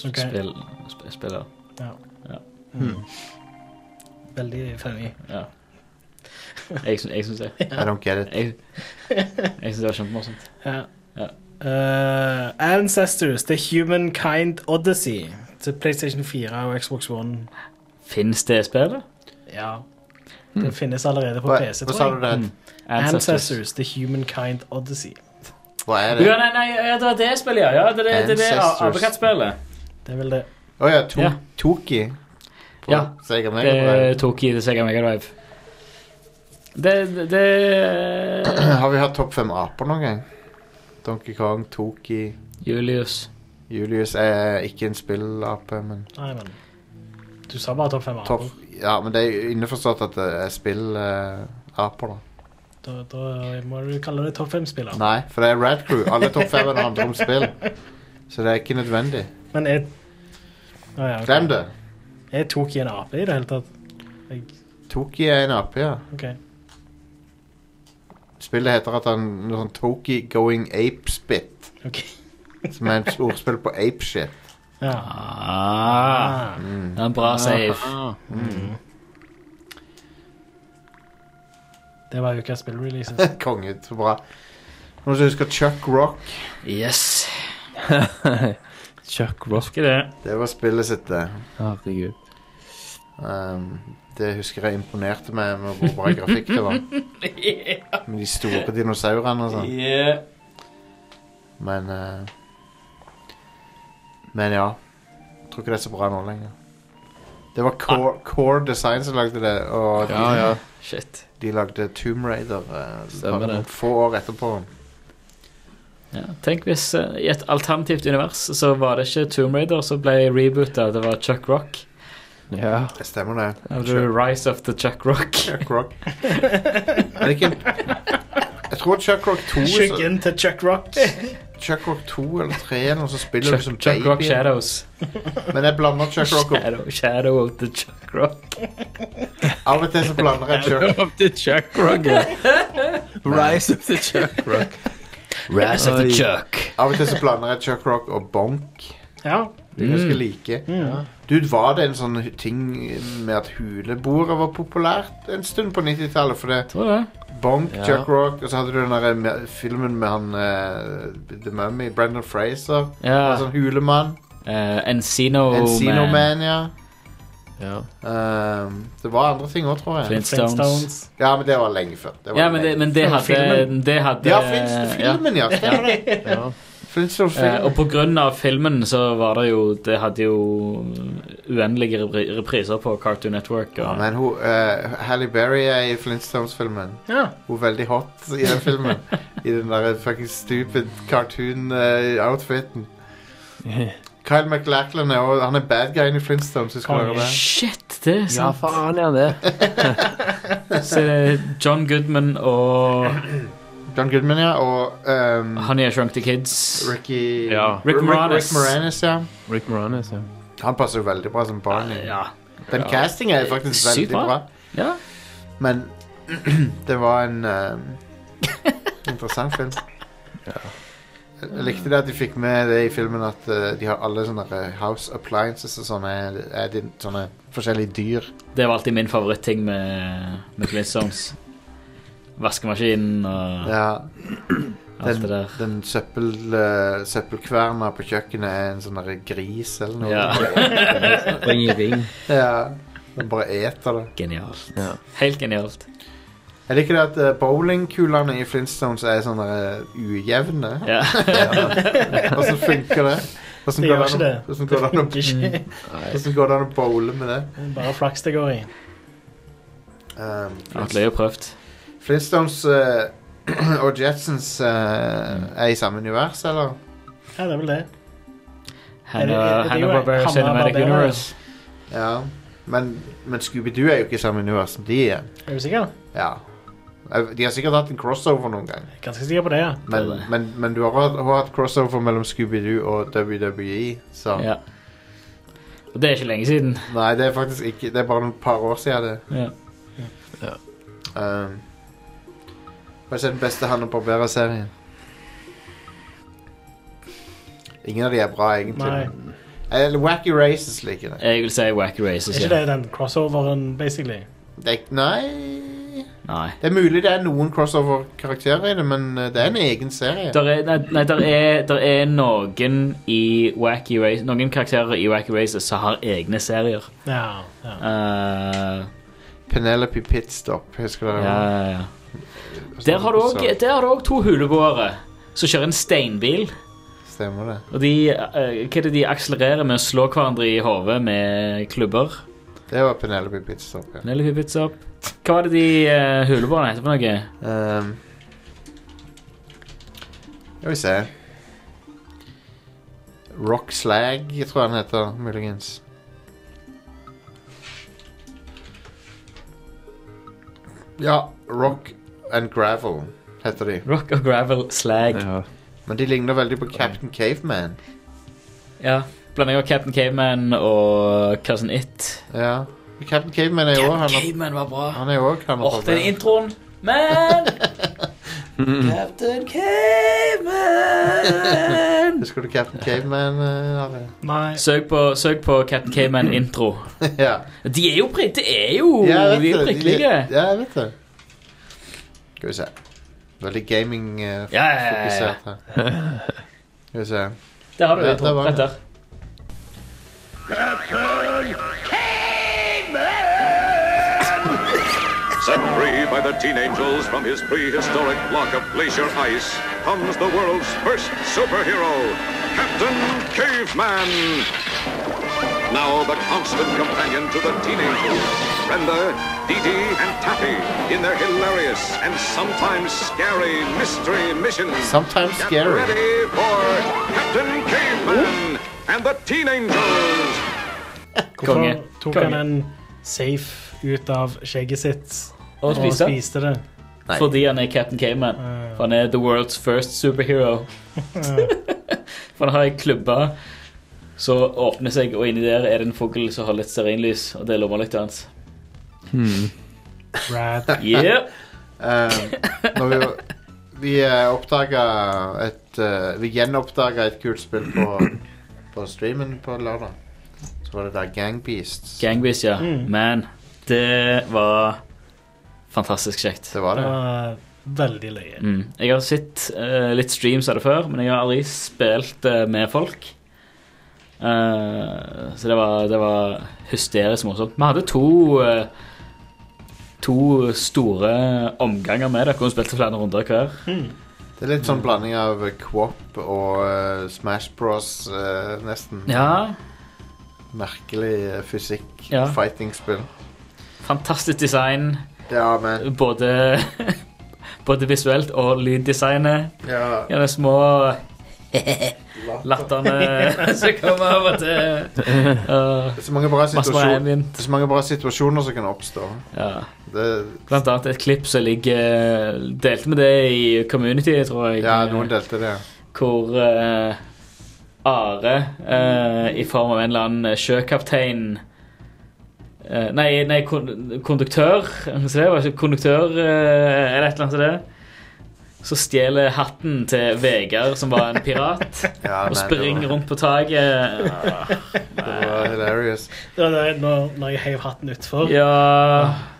Speaker 3: Ok.
Speaker 2: Spill, sp spiller.
Speaker 3: Ja. Mm.
Speaker 2: Ja.
Speaker 1: Hmm.
Speaker 3: Veldig funny.
Speaker 2: Ja. Jeg, syn- jeg syns det.
Speaker 1: I don't get it.
Speaker 2: Jeg, jeg syns det var kjempemorsomt.
Speaker 3: Ja.
Speaker 2: Ja.
Speaker 3: Eh, Ancestors, The Humankind Odyssey til PlayStation 4 og Xbox One.
Speaker 2: Fins det spillet?
Speaker 3: Ja. Det finnes allerede på
Speaker 1: Hmm. Hva,
Speaker 3: PC,
Speaker 1: hva sa
Speaker 3: tror
Speaker 1: du
Speaker 3: jeg.
Speaker 2: Hmm.
Speaker 1: det het?
Speaker 2: Mm.
Speaker 3: Ancestors, The Humankind Odyssey.
Speaker 1: Hva er det?
Speaker 2: Ja, nei, nei, ja, det var det spillet, ja. ja det, det, det, det
Speaker 1: Ancestors.
Speaker 2: apekattspillet.
Speaker 3: Det er vel det.
Speaker 1: Å ja, to
Speaker 2: Ja.
Speaker 1: Toki. På
Speaker 2: Ja. Eh,
Speaker 1: Sega Mega
Speaker 2: Det
Speaker 1: Drive.
Speaker 2: tok i det Sega Mega Drive. Det, det, det
Speaker 1: Har vi hatt Topp fem aper noen gang? Donkey Kong, Toki
Speaker 2: Julius.
Speaker 1: Julius er ikke en spillape, men
Speaker 3: Nei, men Du sa bare topp fem aper.
Speaker 1: topp Ja, men det er innforstått at det er spillaper, da.
Speaker 3: Da, da må du kalle det topp fem-spiller.
Speaker 1: Nei, for det er Rad Crew. Alle topp fem handler om spill. Så det er ikke nødvendig.
Speaker 3: Men jeg Å ja, ok.
Speaker 1: Glem det.
Speaker 3: Jeg tok i en ape i det hele tatt. Jeg,
Speaker 1: Toki er en ape, ja.
Speaker 3: ok.
Speaker 1: Spillet heter at han noe sånn Toki Going Ape Spit,
Speaker 3: ok.
Speaker 1: som er et ordspill på ape shit.
Speaker 3: Ja.
Speaker 2: Ah,
Speaker 3: Ah.
Speaker 2: det er en bra save.
Speaker 4: Ah,
Speaker 3: Det var ukas spillreleases.
Speaker 1: Konge, så bra. Noen som husker Chuck Rock?
Speaker 2: Yes.
Speaker 4: Chuck Ross.
Speaker 2: Husker det.
Speaker 1: Det var spillet sitt, det.
Speaker 4: Herregud.
Speaker 1: Ehm, det husker jeg imponerte meg med hvor bra grafikk det var. Med de store dinosaurene og sånn.
Speaker 2: Yeah.
Speaker 1: Men eh, Men ja. Jeg tror ikke det er så bra nå lenger. Det var Core, core Design som lagde det, og de,
Speaker 4: Ah. Ja, ja. Shit.
Speaker 1: de lagde Tomb Raider eh,
Speaker 4: Stemmer
Speaker 1: bare
Speaker 4: det.
Speaker 1: få år etterpå.
Speaker 2: Ja, tenk hvis eh, i et alternativt univers så var det ikke Tomb Raider som ble reboota, det var Chuck Rock.
Speaker 4: Ja.
Speaker 1: Det stemmer, det.
Speaker 2: Da hadde du Rise of the Chuck Rock.
Speaker 1: Chuck Rock. er det ikke en Jeg tror Chuck Rock 2 så-
Speaker 3: Skyggen til Chuck Rock.
Speaker 1: Chuck Rock 2 eller 3 eller noe, så spiller
Speaker 2: Chuck,
Speaker 1: du som
Speaker 2: Chuck Rock
Speaker 1: baby.
Speaker 2: Shadows.
Speaker 1: Men jeg blander Chuck Rock opp.
Speaker 2: Shadow, Shadow of the Chuck Rock.
Speaker 1: Av og til så blander jeg Chuck
Speaker 4: Up the Chuck Rock. ja. Rise of the Chuck Rock.
Speaker 2: Rise of the
Speaker 4: Oi.
Speaker 2: Chuck.
Speaker 1: Av og til så blander jeg Chuck Rock og Bonk.
Speaker 3: Ja. Mm.
Speaker 1: Det er
Speaker 2: Mm.
Speaker 1: ganske like. Dude, var det en sånn ting med at huleboere var populært en stund på 90-tallet? For det
Speaker 2: Tror det.
Speaker 1: Bonk,
Speaker 4: Ja.
Speaker 1: Chuck Rock, og så hadde du den der me- filmen med han eh, The Mummy, Brendan Fraser.
Speaker 2: Ja.
Speaker 1: En sånn hulemann.
Speaker 2: eh, Encino,
Speaker 1: Encino Man, ja.
Speaker 4: Ja.
Speaker 1: Um, det var andre ting òg, tror jeg.
Speaker 2: Flintstones.
Speaker 3: Flintstones.
Speaker 1: Ja, men det var lenge før. Det var
Speaker 2: Ja, men det, men det
Speaker 3: Det var
Speaker 2: hadde,
Speaker 3: filmen.
Speaker 2: det hadde
Speaker 1: ja, Flintstones- filmen, ja. Stemmer det.
Speaker 4: ja.
Speaker 1: Flintstones-filmen.
Speaker 2: Eh, og på grunn av filmen så var det jo Det hadde jo uendelige repri repriser på Cartoon Network. Og,
Speaker 1: Ja, men hun, eh, Halle Berry er i Flintstones-filmen.
Speaker 3: Ja.
Speaker 1: Hun er veldig hot i den filmen. I den der fucking stupid cartoon-outfiten. Kyle McLachlan er også, han er bad guyen i Flintstones. Husker dere det?
Speaker 2: Shit, det er
Speaker 4: ja,
Speaker 2: sant.
Speaker 4: faen er han det.
Speaker 2: Så det er John Goodman og
Speaker 1: John Goodman, ja. Og ehm,
Speaker 2: Honey I Shrunk the Kids.
Speaker 1: Ricky
Speaker 4: Ja.
Speaker 2: Rick Moranis.
Speaker 1: Rick Moranis, ja.
Speaker 4: Rick Moranis, ja.
Speaker 1: Han passer jo veldig bra som Barney.
Speaker 2: Ja.
Speaker 1: Den castingen er faktisk
Speaker 2: Sykt
Speaker 1: veldig
Speaker 2: bra.
Speaker 1: bra.
Speaker 2: ja.
Speaker 1: Men det var en ehm, interessant film. Jeg jeg likte det at de fikk med det i filmen at eh, de har alle sånne eh, house appliances og sånne, eh, din- sånne forskjellige dyr.
Speaker 2: Det var alltid min favoritting med, med Flintstones. Vaskemaskinen og
Speaker 1: Ja,
Speaker 2: alt det der.
Speaker 1: den søppel, eh, søppelkverna på kjøkkenet er en sånn der gris eller noe.
Speaker 2: Ja,
Speaker 4: Ring i ring.
Speaker 1: Ja, Den bare eter det.
Speaker 2: Genialt.
Speaker 4: Ja.
Speaker 2: Helt genialt.
Speaker 1: Jeg liker det at eh, bowlingkulene i Flintstones er sånne eh, ujevne.
Speaker 2: Ja.
Speaker 1: Hvordan funker det? Hvordan
Speaker 3: Det
Speaker 1: går det
Speaker 3: gjør
Speaker 1: an
Speaker 3: ikke
Speaker 1: å- hvordan
Speaker 3: det.
Speaker 1: går det an å-
Speaker 3: Ikke skje.
Speaker 2: Mm.
Speaker 1: hvordan går det an å bowle med det?
Speaker 3: Bare flaks det går i.
Speaker 1: Um,
Speaker 2: Alt løye prøvd.
Speaker 1: Flintstones eh, og Jetsons eh, er i samme univers, eller?
Speaker 3: Ja, det er vel det. Er det- er det jo
Speaker 2: Hanna-Barbera
Speaker 3: Hanna
Speaker 2: Cinematic
Speaker 3: Barbera?
Speaker 2: Universe.
Speaker 1: Ja. Men, men Scooby-Doo er jo ikke i samme univers som de er.
Speaker 3: Er du sikker?
Speaker 1: Ja. Eh, De har sikkert hatt en crossover noen gang.
Speaker 3: Ganske sikker på det, ja.
Speaker 1: Men,
Speaker 2: Det er det.
Speaker 1: men, men du har hatt, har hatt crossover mellom Scooby-Doo og WWE, så
Speaker 2: Ja. Og det er ikke lenge siden.
Speaker 1: Nei, det er faktisk ikke Det er bare et par år siden det.
Speaker 2: Ja.
Speaker 1: Um, hva er den beste Hanna Barbera-serien? Ingen av de er bra,
Speaker 3: Nei.
Speaker 1: egentlig. Eh, Eller Wacky Races liker jeg.
Speaker 2: Jeg vil si Wacky Races.
Speaker 3: Er ikke
Speaker 2: Ja.
Speaker 3: det den crossoveren, basically?
Speaker 1: Det er ikke- Nei
Speaker 2: Nei.
Speaker 1: Det er mulig det er noen crossover-karakterer i det, men eh, det er en egen serie.
Speaker 2: Der er, nei, nei, der er, der er noen, i Wacky Races, noen karakterer i Wacky Races som har egne serier.
Speaker 3: Ja. ja.
Speaker 2: Eh,
Speaker 1: Penelope Pitstop, husker du det?
Speaker 2: ja, ja, ja. Der har du også- der har du òg to huleboere som kjører en steinbil.
Speaker 1: Stemmer det.
Speaker 2: Og de, eh, hva er det de akselererer med å slå hverandre i hodet med klubber?
Speaker 1: Det var Penelope Pitstop, ja.
Speaker 2: Nelly Hubbits opp. Hva var det de uh, huleboerne heter for noe?
Speaker 1: Um, skal vi se Rock Slag, jeg tror han heter, muligens. Ja, Rock and Gravel heter de.
Speaker 2: Rock og gravel slag. Ja.
Speaker 4: Ja.
Speaker 1: Men de ligner veldig på Captain Caveman.
Speaker 2: Blander jeg av Captain Caveman og Cousin It.
Speaker 1: Ja. Captain Caveman er jo også
Speaker 2: Captain
Speaker 1: han.
Speaker 2: Caveman var bra.
Speaker 1: Han er jo også han.
Speaker 2: Åh, den introen. Men Captain Caveman!
Speaker 1: Husker du Captain Caveman? eh, Are?
Speaker 3: Nei.
Speaker 2: Søk på, søk på Captain Caveman-intro.
Speaker 1: ja.
Speaker 2: De er jo, pri det er jo,
Speaker 1: Ja, jeg vet
Speaker 2: de Oh, er jo
Speaker 1: det.
Speaker 2: prikkelige. Ja,
Speaker 1: Ja, jeg vet det. Skal vi se. Veldig gaming eh,
Speaker 2: ja, ja, ja.
Speaker 1: fokusert her. Skal vi se.
Speaker 2: Der har du
Speaker 1: Ja,
Speaker 2: intro.
Speaker 1: det var
Speaker 2: Rett
Speaker 1: det.
Speaker 2: der.
Speaker 9: Set free by the Teen Angels from his prehistoric block of glacier ice comes the world's first superhero, Captain Caveman. Now the constant companion to the Teen Angels, Brenda, Dee Dee, and Taffy in their hilarious and sometimes scary mystery missions.
Speaker 1: Sometimes
Speaker 9: Get
Speaker 1: scary.
Speaker 9: ready for Captain Caveman and the Teen Angels.
Speaker 3: Hvorfor
Speaker 2: Konge.
Speaker 3: tok
Speaker 2: Konge.
Speaker 3: han en safe ut av skjegget sitt
Speaker 2: Og spise.
Speaker 3: spiste det? Eh,
Speaker 1: Nei.
Speaker 2: Fordi han er Captain Caveman. For han er the world's first superhero. For han har ei klubbe som åpner seg, og inni der er det en fugl som har litt stearinlys, og det er lommelykta hans.
Speaker 3: Rad.
Speaker 2: Yeah.
Speaker 1: Eh, når vi vi eh, oppdaga et eh, Vi gjenoppdaga et kult spill på, på streamen på lørdag. Så var det der Gangbeasts.
Speaker 2: Gangbiz, ja. Man, det var fantastisk kjekt.
Speaker 1: det var
Speaker 3: Det
Speaker 1: det.
Speaker 3: var veldig løye.
Speaker 2: Mm. Jeg har sett eh, litt streams av det før, men jeg har aldri spilt eh, med folk. Eh, så det var, det var hysterisk morsomt. Vi hadde to eh, To store omganger med det. hvor Vi spilte flere runder hver.
Speaker 1: Det er litt sånn blanding av Quop og eh, Smash Bros, eh, nesten.
Speaker 2: Ja,
Speaker 1: Merkelig eh, fysikk.
Speaker 2: Ja.
Speaker 1: Fighting-spill.
Speaker 2: Fantastisk design.
Speaker 1: Ja, men
Speaker 2: Både, både visuelt og lyddesignet.
Speaker 1: ja,
Speaker 2: Ja, de små latterne som kommer over til uh,
Speaker 1: Det er så mange bra
Speaker 2: Masse bra
Speaker 1: situasjoner,
Speaker 2: ambient.
Speaker 1: det er så mange bra situasjoner som kan oppstå.
Speaker 2: Ja.
Speaker 1: Det,
Speaker 2: Blant annet et klipp som ligger Delte med det i community, tror jeg.
Speaker 1: ja, noen delte det.
Speaker 2: Hvor eh, Are, eh, i form av en eller annen sjøkaptein eh, Nei, nei kon konduktør. Så det var ikke konduktør eh, eller et eller annet som det. Så stjeler hatten til Vegard, som var en pirat,
Speaker 1: Ja,
Speaker 2: og
Speaker 1: nei,
Speaker 2: springer
Speaker 1: det var,
Speaker 2: rundt på taket.
Speaker 1: det var hilarious.
Speaker 3: Det var det når, når jeg heiv hatten utfor.
Speaker 2: Ja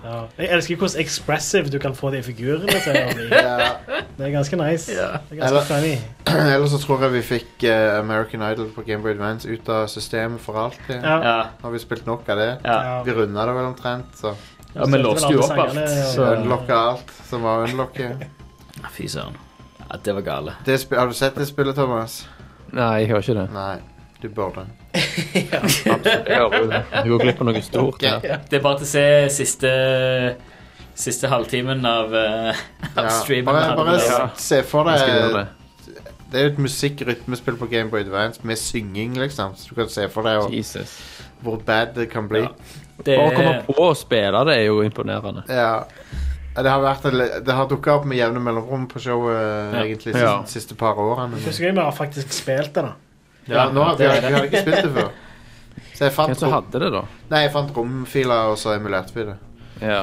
Speaker 3: Ja. Jeg elsker hvordan expressive du kan få de figurene til å bli.
Speaker 1: Ja.
Speaker 3: Det er ganske nice. Det er
Speaker 1: Eller-
Speaker 3: ganske funny.
Speaker 1: Ellers så tror jeg vi fikk eh, American Idol på Game Boy Advance ut av systemet for alltid.
Speaker 3: Ja.
Speaker 2: Ja,
Speaker 1: Har vi spilt nok av det?
Speaker 2: ja.
Speaker 1: Vi runda det vel omtrent, så
Speaker 2: ja vi låste jo opp alt. Så
Speaker 1: unlocka alt som var unlocket.
Speaker 2: Fy søren. Ja, det var gale.
Speaker 1: Det spi- Har du sett det spillet, Thomas?
Speaker 4: Nei, jeg hører ikke det.
Speaker 1: Nei. Du burde.
Speaker 4: Absolutt, jeg hører jo det. Jeg går glipp av noe stort. her.
Speaker 2: Det er bare til å se siste Siste halvtimen av, eh, av
Speaker 1: Ja.
Speaker 2: streamen.
Speaker 1: Bare, bare
Speaker 2: Ja.
Speaker 1: s- se for
Speaker 4: Jeg skal gjøre
Speaker 1: deg
Speaker 4: det.
Speaker 1: Det er jo et musikk-rytmespill på Game Boy Advance med synging, liksom. Så du kan se for deg og,
Speaker 4: Jesus.
Speaker 1: hvor bad det kan bli.
Speaker 2: Ja. Det
Speaker 4: Bare å komme
Speaker 2: er
Speaker 4: på å spille det er jo imponerende.
Speaker 1: Ja. Det har, vært, en- det har dukka opp med jevne mellomrom på showet
Speaker 2: Ja.
Speaker 1: egentlig
Speaker 4: Ja.
Speaker 1: de siste par årene.
Speaker 3: Første gang vi har faktisk spilt det, da.
Speaker 1: Ja, nå har vi,
Speaker 2: det er
Speaker 1: vi har ikke spilt det før. Så jeg
Speaker 4: Hvem
Speaker 1: fant,
Speaker 4: som
Speaker 1: rom,
Speaker 4: hadde det, da?
Speaker 1: nei, jeg fant romfiler, og så emulerte vi det.
Speaker 4: Ja.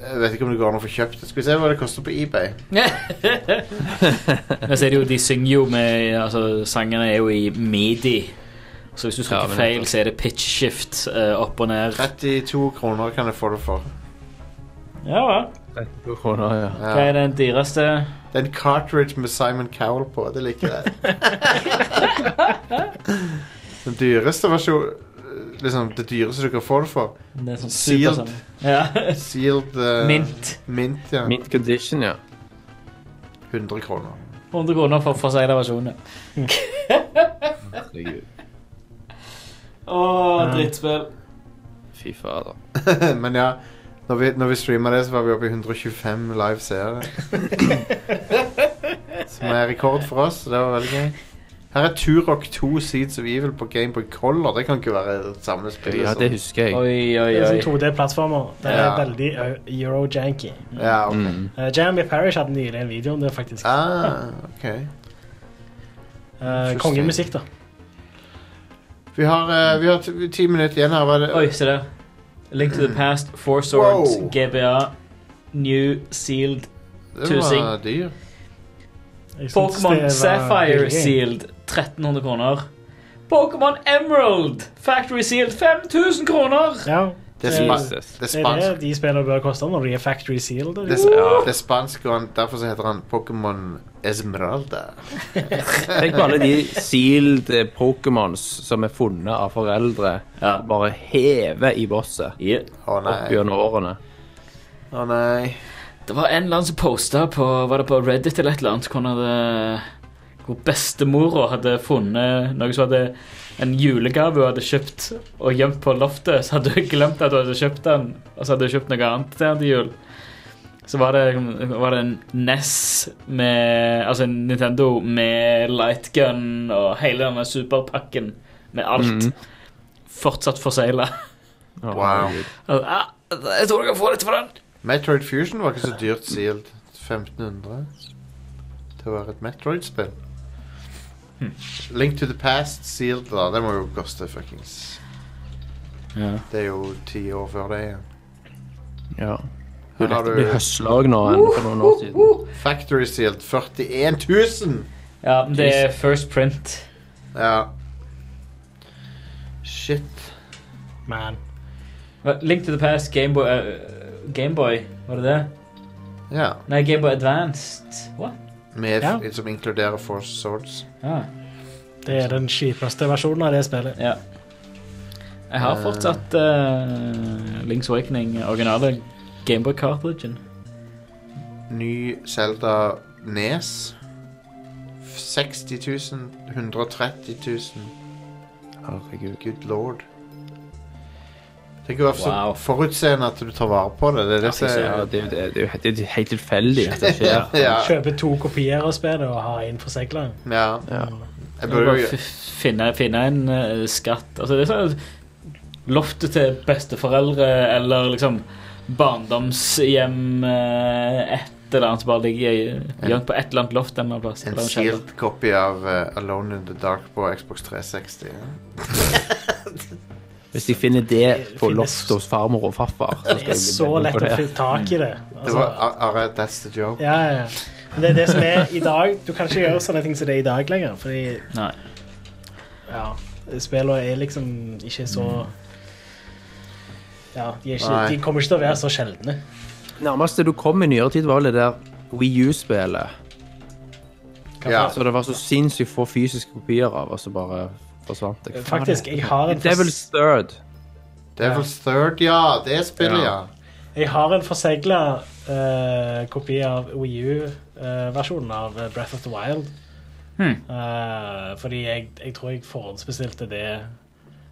Speaker 1: Jeg vet ikke om det går an å få kjøpt det. Skal vi se hva det koster på eBay.
Speaker 2: Men så er det jo, de synger jo med altså, Sangene er jo i midi. Så hvis du
Speaker 4: Ja,
Speaker 2: trykker
Speaker 4: men-
Speaker 2: feil, så er det pitch shift eh, opp og ned.
Speaker 1: 32 kroner kan jeg få det for.
Speaker 2: Ja hva?
Speaker 4: 32 kroner, ja.
Speaker 2: Hva er den dyreste?
Speaker 1: Det er en cartridge med Simon Cowell på. Det liker jeg. Den dyreste versjonen Liksom det dyreste du kan få det for.
Speaker 2: Det er sånn
Speaker 1: Sealed.
Speaker 2: supersang. Ja.
Speaker 1: Sealed eh,
Speaker 2: Mint.
Speaker 1: mint, ja.
Speaker 4: Mint condition, ja.
Speaker 1: 100 kroner.
Speaker 2: 100 kroner for forsegla versjoner. Å, drittspill.
Speaker 4: Fy fader.
Speaker 1: Men ja, når vi, når vi streama det, så var vi oppe i 125 live seere. Som er rekord for oss. så Det var veldig gøy. Her er Turok 2 Seeds of Evil på Gameboy Color. Det kan ikke være et samme spill.
Speaker 4: Ja,
Speaker 1: som-
Speaker 4: det husker jeg.
Speaker 2: Oi, oi,
Speaker 3: Det er
Speaker 2: oi.
Speaker 3: sånn 2D-plattformer. Det er
Speaker 1: Ja.
Speaker 3: veldig ø- euro-janky.
Speaker 1: ja, ok.
Speaker 4: Mm.
Speaker 3: Uh, Jeremy Parish hadde nylig en video om det, faktisk.
Speaker 1: Ah, ok.
Speaker 3: Uh, kongemusikk, da.
Speaker 1: Vi har, eh, vi har t- ti minutter igjen her. Hva er det?
Speaker 2: Oi, se der. Link to the past, Four Swords,
Speaker 1: Wow.
Speaker 2: GBA, New Sealed,
Speaker 1: det var
Speaker 2: tusing.
Speaker 1: dyr.
Speaker 3: Jeg synes det var
Speaker 2: Pokémon Sapphire
Speaker 3: veldig gøy.
Speaker 2: Sealed, 1300 kroner. Pokémon Emerald, Factory Sealed, 5000 kroner.
Speaker 3: Ja.
Speaker 1: Det er, spa
Speaker 3: Jesus.
Speaker 1: det er
Speaker 3: Det er
Speaker 1: spansk.
Speaker 3: det de spillene bør koste når de er factory sealed.
Speaker 1: Det er,
Speaker 3: Det
Speaker 1: sp
Speaker 4: Ja.
Speaker 1: det er spansk, og han- derfor så heter han Pokémon Esmeralda.
Speaker 4: Tenk på alle de sealed eh, Pokémons som er funnet av foreldre
Speaker 2: Ja.
Speaker 4: og bare hever i bosset
Speaker 2: Yeah.
Speaker 1: Å
Speaker 4: opp
Speaker 1: nei.
Speaker 4: gjennom årene.
Speaker 1: Å nei.
Speaker 2: Det var en eller annen som posta på Var det på Reddit eller et eller annet hvor, han hadde, hvor bestemora hadde funnet noe som hadde en julegave hun hadde kjøpt og gjemt på loftet. Så hadde hun glemt at hun hadde kjøpt den, og så hadde hun kjøpt noe annet til han til jul. Så var det, var det en NES med Altså en Nintendo med lightgun og hele denne superpakken med alt.
Speaker 4: Mm.
Speaker 2: Fortsatt forsegla.
Speaker 4: Å,
Speaker 1: Wow.
Speaker 4: herregud.
Speaker 2: Ah, jeg tror jeg kan få litt for den.
Speaker 1: Metroid Fusion var ikke så dyrt sealed. 1500 til å være et Metroid-spill. Link to the Past sealed, da. Det må jo koste fuckings
Speaker 2: Ja.
Speaker 1: Det er jo ti år før det igjen.
Speaker 4: Ja.
Speaker 1: Her
Speaker 4: Du lette
Speaker 1: har
Speaker 4: å bli
Speaker 1: du
Speaker 4: høsla òg nå enn for noen år siden.
Speaker 1: Factory sealed 41 000!
Speaker 2: ja, det er first print.
Speaker 1: Ja. Shit.
Speaker 3: Man.
Speaker 2: Hva- Link to the Past, Gameboy Gameboy, var det det?
Speaker 1: Ja.
Speaker 2: Nei, Gameboy Advanced. What? Ah.
Speaker 1: Med,
Speaker 3: Ja.
Speaker 1: Som inkluderer Force Swords.
Speaker 2: Ja.
Speaker 3: Det er den kjipeste versjonen av det spillet.
Speaker 2: ja. Jeg har
Speaker 1: Eh.
Speaker 2: fortsatt eh, Link's Awakening, originale Gameboy-cartridgen.
Speaker 1: Ny Zelda E Nes. 60 000. 130 000.
Speaker 4: Herregud.
Speaker 1: Good lord. Tenk å være så
Speaker 2: Wow.
Speaker 1: forutseende at du tar vare på det. Det er det som
Speaker 4: Ja,
Speaker 1: er
Speaker 4: det, er jo- det, er jo- det er jo helt tilfeldig at det skjer.
Speaker 1: ja,
Speaker 3: Kjøper to kopier av spillet og har én forsegla.
Speaker 1: ja.
Speaker 4: Ja.
Speaker 1: Jeg
Speaker 2: Du må
Speaker 1: burde
Speaker 2: Bare
Speaker 1: jo
Speaker 2: f- finne, finne en eh, skatt. Altså, det er sånn loftet til besteforeldre eller liksom barndomshjem eh, Et eller annet som bare ligger i- gjemt på et eller annet loft en eller annen plass.
Speaker 1: en
Speaker 2: eller annen kjeller.
Speaker 1: sealed copy av eh, Alone in the Dark på Xbox 360. ja.
Speaker 4: Hvis de finner det på
Speaker 3: Finnes-
Speaker 4: loftet hos farmor og farfar så skal
Speaker 3: Det
Speaker 4: jeg
Speaker 3: er
Speaker 4: bli
Speaker 3: så
Speaker 4: veldig
Speaker 3: lett å
Speaker 4: imponert.
Speaker 3: få tak i det.
Speaker 1: Det
Speaker 3: Altså,
Speaker 1: var Are, Are, that's the joke.
Speaker 3: ja, ja. Men det er det som er i dag. Du kan ikke gjøre sånne ting som det er i dag lenger. Fordi
Speaker 2: Nei.
Speaker 3: ja, spillene er liksom ikke så Ja, de, er ikke,
Speaker 1: Mm. Nei.
Speaker 3: de kommer ikke til å være så sjeldne.
Speaker 4: Nærmeste du kom i nyere tid, var vel det der Wii U-spillet.
Speaker 1: Ja.
Speaker 4: Så det var så sinnssykt få fysiske kopier av, og så bare forsvant det.
Speaker 3: Faktisk, jeg har en, fors
Speaker 4: Devil's Third.
Speaker 1: Devil's Third, ja. Det spillet, ja.
Speaker 3: jeg har en forsegla kopi av WiiU-versjonen av eh, Breath of the Wild.
Speaker 2: Hmm.
Speaker 3: Eh, fordi jeg, jeg tror jeg forhåndsbestilte det,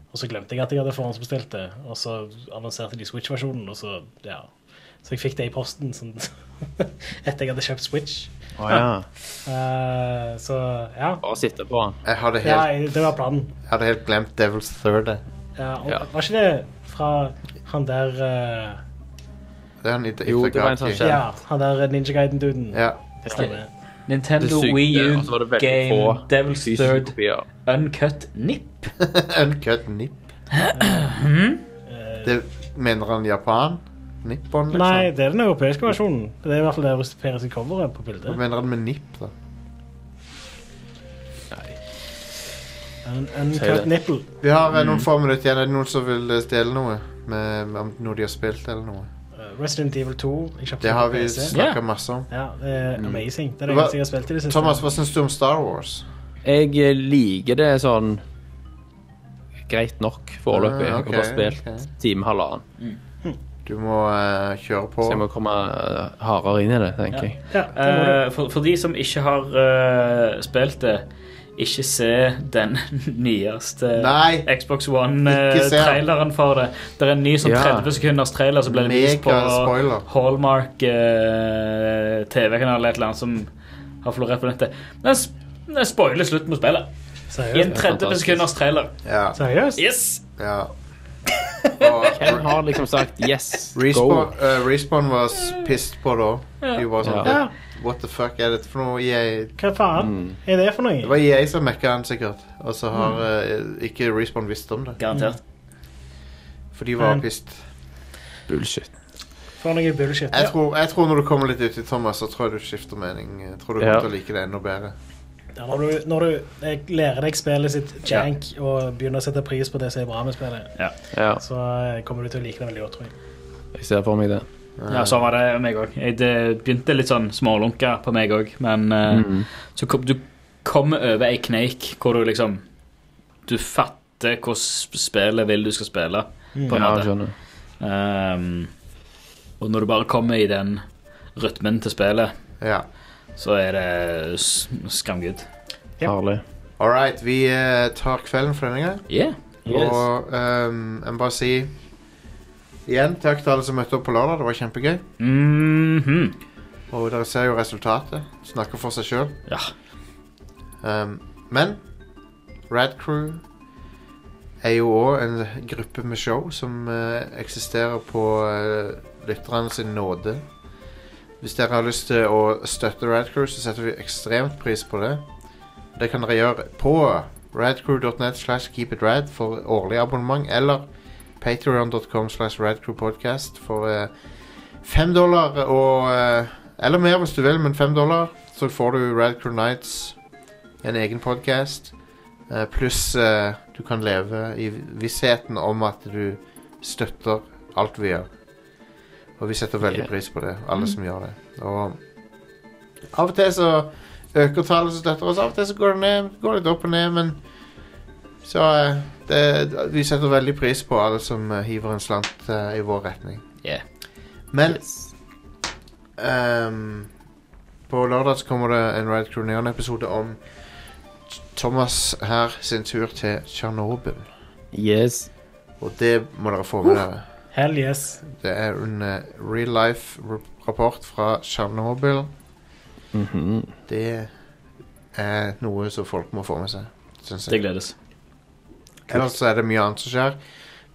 Speaker 3: og så glemte jeg at jeg hadde forhåndsbestilt det. Og så annonserte de Switch-versjonen, og så ja. Så jeg fikk det i posten sånn, etter jeg hadde kjøpt Switch.
Speaker 4: Å ja.
Speaker 3: Eh, så ja.
Speaker 4: Bare sitte på den.
Speaker 1: Jeg hadde
Speaker 3: ja.
Speaker 1: helt,
Speaker 3: Det var planen.
Speaker 1: jeg hadde helt glemt Devil's Third. jeg.
Speaker 3: Ja, og,
Speaker 4: Ja.
Speaker 3: Var ikke det fra han der eh,
Speaker 1: Det er han i
Speaker 4: Jo, det var en sånn
Speaker 1: Itagaki.
Speaker 4: skjerm.
Speaker 3: Ja, han der Ninja Guiden-duden.
Speaker 1: Ja.
Speaker 3: Det stemmer.
Speaker 4: Det
Speaker 2: Nintendo
Speaker 4: sykte,
Speaker 2: Wii U
Speaker 4: og så var det veldig
Speaker 2: Game
Speaker 4: få
Speaker 2: Devil's
Speaker 4: fysiske
Speaker 2: Third
Speaker 4: kopier.
Speaker 2: Uncut Nip.
Speaker 1: Uncut nip.
Speaker 3: Hmm?
Speaker 1: det mener han Japan? Nippon, liksom?
Speaker 2: sånn.
Speaker 3: Nei, det er den europeiske versjonen. Det er i hvert fall det europeiske coveret på
Speaker 1: Hva
Speaker 3: bildet.
Speaker 1: mener han med nipp, da?
Speaker 3: En
Speaker 4: Sier det.
Speaker 3: uncut nipple.
Speaker 1: Vi har eh,
Speaker 3: Hmm.
Speaker 1: noen få minutter igjen. Er det noen som vil eh, dele noe? Med, med om noe de har spilt, eller noe?
Speaker 3: Eh, Resident Evil 2. Jeg kjøpte
Speaker 1: Det har vi
Speaker 3: på PC.
Speaker 1: snakka masse om.
Speaker 3: Ja, det er amazing. Det er det
Speaker 1: Hva-
Speaker 3: eneste jeg har spilt i det siste.
Speaker 1: Thomas, hva syns du om Star Wars?
Speaker 4: Jeg eh, liker det sånn greit nok foreløpig. Jeg
Speaker 1: Ah,
Speaker 4: har
Speaker 1: ok,
Speaker 4: bare spilt
Speaker 1: ok.
Speaker 4: time halvannen.
Speaker 1: Du må eh, kjøre på.
Speaker 4: Så jeg må komme eh, hardere inn i det, tenker jeg.
Speaker 3: Ja, det må du.
Speaker 2: Eh, for, for de som ikke har eh, spilt det, ikke se den nyeste
Speaker 1: Nei!
Speaker 2: Xbox One-traileren
Speaker 1: Ikke se den.
Speaker 2: for det. Det er en ny sånn
Speaker 4: Ja.
Speaker 2: 30 sekunders trailer som ble vist på
Speaker 1: Mega spoiler.
Speaker 2: Hallmark eh, TV-kanal eller et eller annet som har florert på nettet. Den, s- den spoiler slutten på spillet. I en
Speaker 3: Seriøst?
Speaker 2: 30
Speaker 4: Fantastisk.
Speaker 2: sekunders trailer.
Speaker 1: Ja.
Speaker 3: Seriøst?
Speaker 2: Yes!
Speaker 1: ja. Og
Speaker 4: Hvem har liksom sagt 'yes, go'?
Speaker 1: Respawn, eh, Respawn var s- pissed på det òg. De var sånn
Speaker 3: Ja,
Speaker 1: What the fuck er dette for noe? EA?
Speaker 3: hva faen er det for
Speaker 1: Mm. Det
Speaker 3: noe?
Speaker 1: var EA som mekka han, sikkert. Og så har eh, ikke Respawn visst om det.
Speaker 2: Garantert.
Speaker 1: For de var
Speaker 3: Men-
Speaker 1: pissed.
Speaker 4: Bullshit.
Speaker 3: For noe bullshit.
Speaker 1: Jeg tror, jeg tror når du kommer litt uti, Thomas, så tror jeg du skifter mening. Jeg tror du
Speaker 4: Ja.
Speaker 1: kommer til å like det enda bedre.
Speaker 3: Ja, Ja, når du, når du eh, lærer deg spillet sitt jank og begynner å sette pris på det som er bra med spillet,
Speaker 2: Ja.
Speaker 4: Ja,
Speaker 3: så eh, kommer du til å like det veldig godt, tror jeg.
Speaker 4: jeg ser for meg det.
Speaker 2: Ja, sånn var det meg òg. Det begynte litt sånn smålunka på meg òg, men eh, så kom, du kommer over ei kneik hvor du liksom Du fatter hvordan spillet vil du skal spille, på en
Speaker 4: Mm. Ja,
Speaker 2: måte.
Speaker 4: skjønner.
Speaker 2: Ehm, og når du bare kommer i den rytmen til spillet,
Speaker 1: Ja.
Speaker 2: så er det s- skamgood.
Speaker 3: Ja.
Speaker 4: Herlig.
Speaker 1: All right, vi eh, tar kvelden for denne gang.
Speaker 2: Yeah.
Speaker 1: Og ehm, jeg må bare si igjen takk til alle som møtte opp på lørdag. Det var kjempegøy.
Speaker 2: Mhm.
Speaker 1: Og dere ser jo resultatet. Snakker for seg sjøl.
Speaker 2: Ja.
Speaker 1: Um, men Rad Crew er jo òg en gruppe med show som eh, eksisterer på uh, lytterne sin nåde. Hvis dere har lyst til å støtte Rad Crew, så setter vi ekstremt pris på det. Det kan dere gjøre på radcrew.net slash keepitrad for årlig abonnement, eller patreon.com slash radcrewpodcast for eh, fem dollar og eh, Eller mer hvis du vil, men fem dollar, så får du Radcrew Nights en egen podkast. Pluss eh, du kan leve i vissheten om at du støtter alt vi gjør. Og vi setter veldig
Speaker 4: Ja.
Speaker 1: pris på det, alle som gjør det. Og av og til så øker tallet som støtter oss, av og til så går det ned, går litt opp og ned, men så eh, det, Vi setter veldig pris på alle som eh, hiver en slant eh, i vår retning.
Speaker 2: Yeah.
Speaker 1: Men Ehm, på lørdag så kommer det en Ride Crew Neon-episode om Thomas her sin tur til Tsjernobyl.
Speaker 4: Yes.
Speaker 1: Og det må dere få med dere.
Speaker 3: Hell yes.
Speaker 1: Det er en eh, real life-rapport fra Tsjernobyl.
Speaker 4: Mhm.
Speaker 1: Det er noe som folk må få med seg, syns jeg.
Speaker 2: Det gledes.
Speaker 1: Ellers så er det mye annet som skjer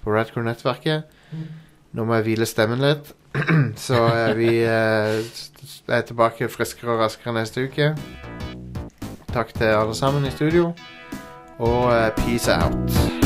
Speaker 1: på Radcore-nettverket. Nå må jeg hvile stemmen litt, så eh, vi eh, s- s- er tilbake friskere og raskere neste uke. Takk til alle sammen i studio, og eh, peace out.